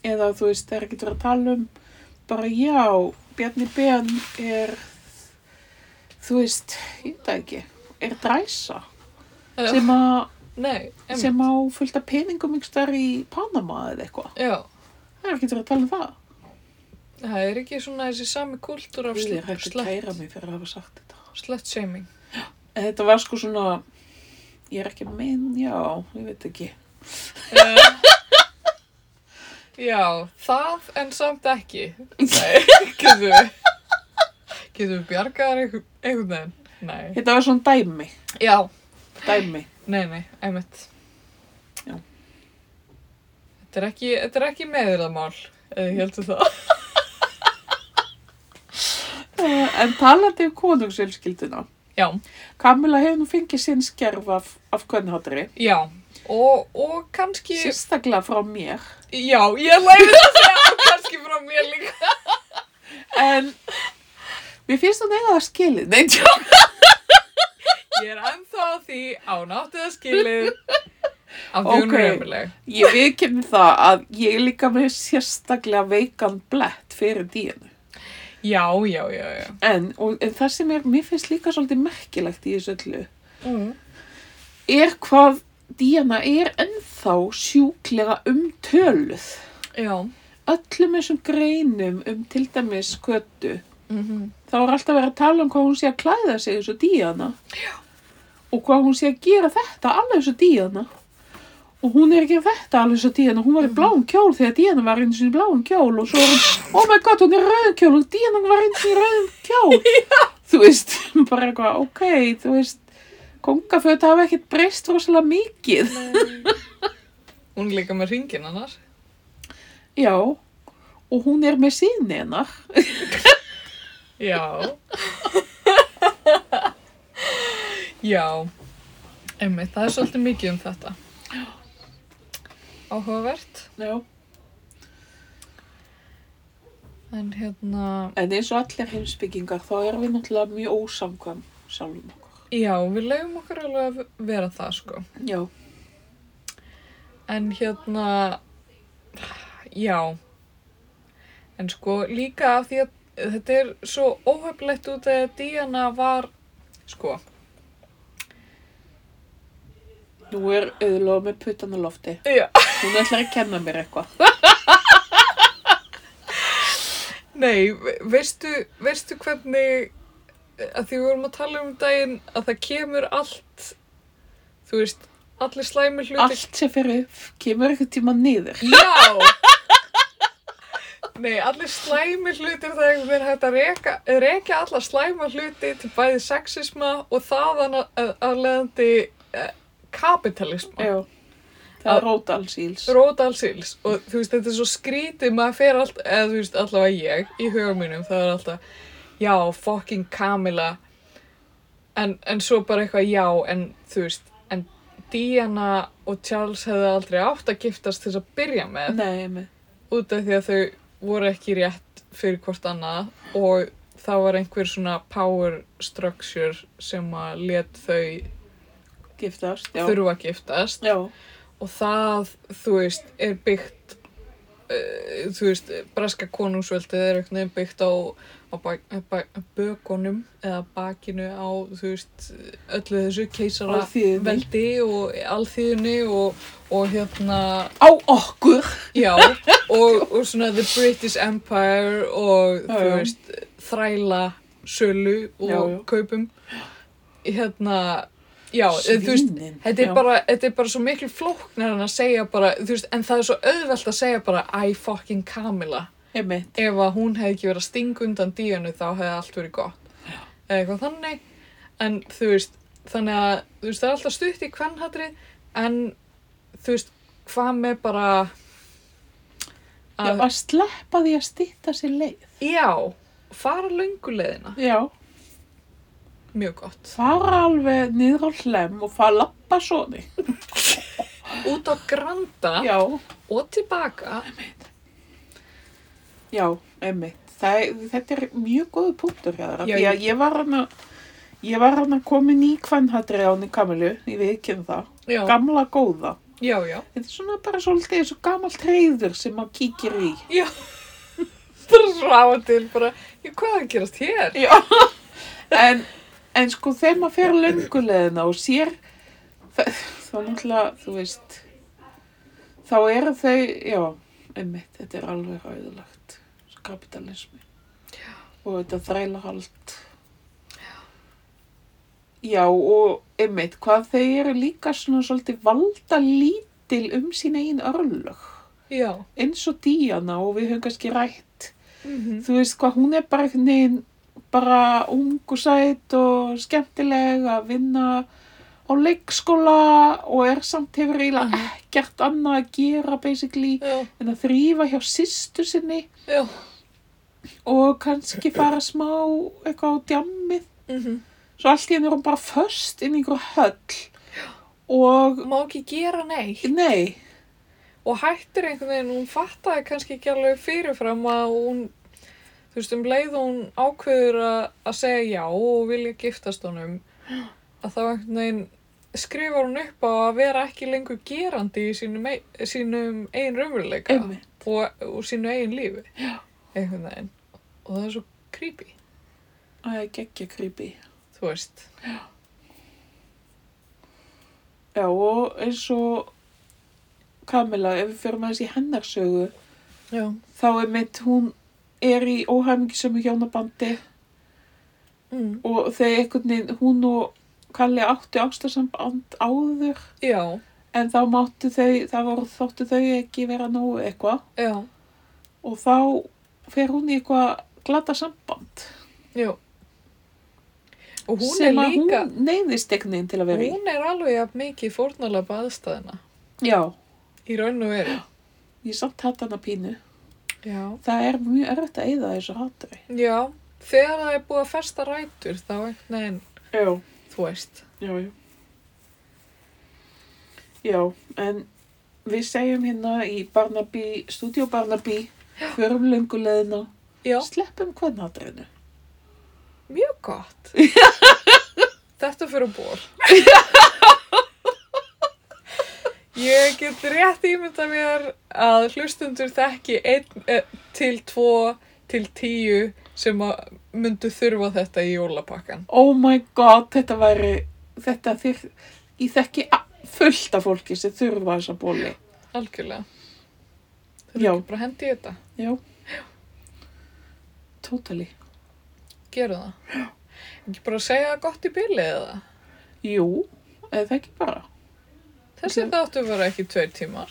eða þú veist, það er ekkert verið að tala um bara já, Bjarni Ben er þú veist, ég veit það ekki er dræsa Eða, sem, a, nei, em, sem á fullt af peningum yngst þar í Panama eða eitthvað Já, það er ekkert verið að tala um það það er ekki svona þessi sami kultúr af Ég er sl- hægt að kæra slett, mig fyrir að hafa sagt þetta slett shaming. en þetta var sko svona ég er ekki minn, já, ég veit ekki Eh, Já, það en samt ekki. Nei, [LAUGHS] getum við, getum við bjargaðar einhvern einhvern veginn? Nei. þetta var svona dæmi, Já, dæmi nei, nei, einmitt. Já. Þetta er ekki, þetta er ekki meðurðamál, eða ég heldur það. Eh, en talandi um konungsfjölskylduna Já, Kamila hefur nú fengið sinn skerf af, af kvennhátri já, og, og kannski, sérstaklega frá mér já, ég læri það að segja og kannski frá mér líka. en mér finnst hún eiginlega að skilið Nei, tjó. Ég er ennþá á því án áttið að skilið af því hún Ok. er ömuleg. ég viðkynni það að ég er líka með sérstaklega veikan blett fyrir díinu Já, já, já, já. en, og, en það sem er, mér finnst líka svolítið merkilegt í þessu öllu Mm. er hvað díana er ennþá sjúklega umtöluð Já. öllum þessum greinum um til dæmis skötu Mm -hmm. þá er alltaf verið að tala um hvað hún sé að klæða sig eins og díana Já. og hvað hún sé að gera þetta alveg eins og díana og hún er ekki að fetta alveg svo Díana, hún var í bláum kjól þegar Díana var eins og í bláum kjól og svo er hún, oh my god, hún er í rauðum kjól og Díana var eins og í rauðum kjól þú veist, [LAUGHS] bara eitthvað, ok þú veist, kongaföt hafa ekkert breyst rosalega mikið Hún er líka með ringin annars. já, og hún er með síðni hennar Já. [LAUGHS] Já. Einmitt, það er svolítið mikið um þetta. Áhugavert. já. En hérna, en eins og allir heimsbyggingar þá erum við náttúrulega mjög ósamkvæm sjálfum okkur já, við leiðum okkur alveg að vera það, sko. já, En hérna, já, en sko líka af því að þetta er svo óheflegt út af því að Diana var, sko, nú er auðlóð með putan á lofti já. hún ætlar að kenna mér eitthvað nei, ve- veistu, veistu hvernig, að því við vorum að tala um daginn að það kemur allt, þú veist, allir slæmi hluti. allt sem fyrir upp kemur eitthvað tíma niður Já! Nei, allir slæmi hlutir það er einhvern veginn hægt að reka, reka alla slæma hluti til bæði sexisma og þaðan aðleðandi eh, kapitalisma. já, það er rót alls íls Rót alls íls og þú veist, þetta er svo skrítið, maður fer allt, eða þú veist, allavega ég í huga mínum, það er alltaf, já, fucking Kamila, en, en svo bara eitthvað, já, en þú veist, en Diana og Charles hefðu aldrei átt að giftast til þess að byrja með nei, með út af því að þau voru ekki rétt fyrir hvort annað og það var einhver svona power structure sem að let þau giftast já, þurfa að giftast já, og það, þú veist, er byggt uh, þú veist, braska konungsveldið er einhvern veginn byggt á, á bak, eh, bak, bökunum eða bakinu á, þú veist, öllu þessu keisara Alþýðunni. veldi og alþýðunni og, og hérna á okkur Já, og, og svona The British Empire og Já, þú já. veist, þræla sölu og Já, já. kaupum hérna, já, eða, þú veist Svínin, Þetta er, já. bara, þetta er bara svo miklu flóknar en að segja bara, þú veist, en það er svo auðvelt að segja bara, I fucking Camilla einmitt, ef að hún hefði ekki verið að stinga undan díunu þá hefði allt verið gott eða eitthvað þannig en þú veist, þannig að þú veist, það er alltaf stutt í kvennhatri en þú veist, hvað með bara já, að, að sleppa því að stýta sér leið já, fara lönguleiðina já, mjög gott, fara alveg niður á hlem og fara að lappa svona út á granda já, og tilbaka já, einmitt það, er- þetta er mjög góð punktur hjá þér af Já, því að ég var hann að ég var hann að komin í kvennhatri á henni Kamilu, ég við ekki um það já, gamla góða já, já, [LAUGHS] Þetta er svona bara svolítið eins og gamalt reyður sem maður kíkir í. já bara ráða til bara, "Já, hvað er að gerast hér Já. en, en sko þegar maður fer lönguleðina og sér, þa- þá náttúrulega, þú veist, þá eru þau, já, einmitt, þetta er alveg ræðilegt, kapitalismi. Og þetta þrælahald. Já, og einmitt, hvað þau eru líka svona svolítið valda lítil um sína einn örlög. já, eins og Díana og við höfum kannski rætt mhm, þú veist hvað hún er bara einhvern veginn bara ung og sæt og skemmtileg að vinna á leikskóla og er samt hefur eiginlega ekkert annað að gera basically já, en að þrýfa hjá systur sinni já og kannski fara smá eitthvað á djammið mhm. svo allt í henni er hún bara föst inn í einhver höll og má ekki gera neitt nei, og hættir einhvern veginn, hún fattaði kannski ekki alveg fyrirfram að hún, þú veist, um leið og hún ákveður að, að segja já og vilja giftast honum, að þá einhvern veginn skrifar hún upp á að vera ekki lengur gerandi í sínum, ei- sínum eigin raunveruleika einmitt og, og sínu eigin lífi, einhvern veginn. Og það er svo creepy, það er geggja creepy þú veist. Já, og eins og Kamila, ef við fyrir með þessi hennarsögu, Já. þá er mitt, hún er í óhæmingisömu hjónabandi Mm. og þegar einhvern veginn, hún og Kalli áttu ástarsamband áður, Já, en þá máttu þau, þá voru, þóttu þau ekki vera nógu eitthvað já, og þá fer hún í eitthvað glata samband já. Og hún sem er að líka, hún neyðist einhvern veginn til að vera í. hún er alveg jafn mikið fórnalapa aðstæðina Já, í raun og veru. ég samt hatt hana pínu. Já. Það er mjög erfitt að eyða þessu hattri. Já, þegar það er búið að festa rætur þá einhvern veginn, Já. þú veist. Já, já. Já, en við segjum hérna í Barnaby, Studio Barnaby, förum löngu leðina, Já, sleppum kvennatrinu. mjög [LAUGHS] gott. Þetta um fyrir bór. Ég get rétt ímynda mér að hlustundur þekki einn eh, til tvo til tíu sem að myndu þurfa þetta í jólapakkan. Oh my god, þetta væri, þetta þér, ég þekki a- fullt af fólki sem þurfa þessa bóli. Algjörlega. Þau Já. eru bara að hendi í þetta. Já. Totally. Gerðu það. Ekki bara að segja það gott í bíli eða? Jú, eða ekki bara. Þessi Ok. þáttu var ekki tveir tímar.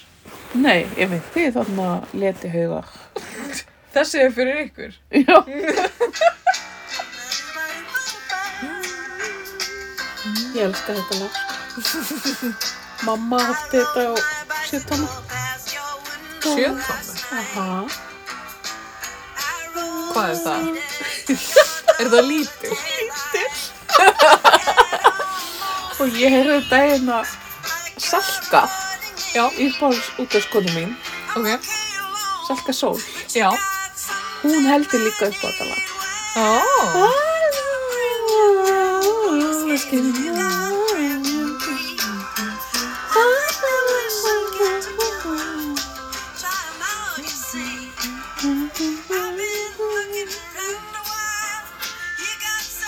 Nei, ég veit, þið þarna leti haugar. Þessi er fyrir ykkur. Já. Ég elska þetta lag. sko. Mamma átti þetta á 17. Sjöfnum. Aha. Hvað er það? [LAUGHS] er það lítil? Og ég heyrði þetta eina Salka Já, uppáhalds útverskonu mín, ok. Salka Sól. Já. Hún heldur líka upp á þetta lag. Ó. Ah, ah, ah, ah, ah, ah, ah, ah, ah, ah,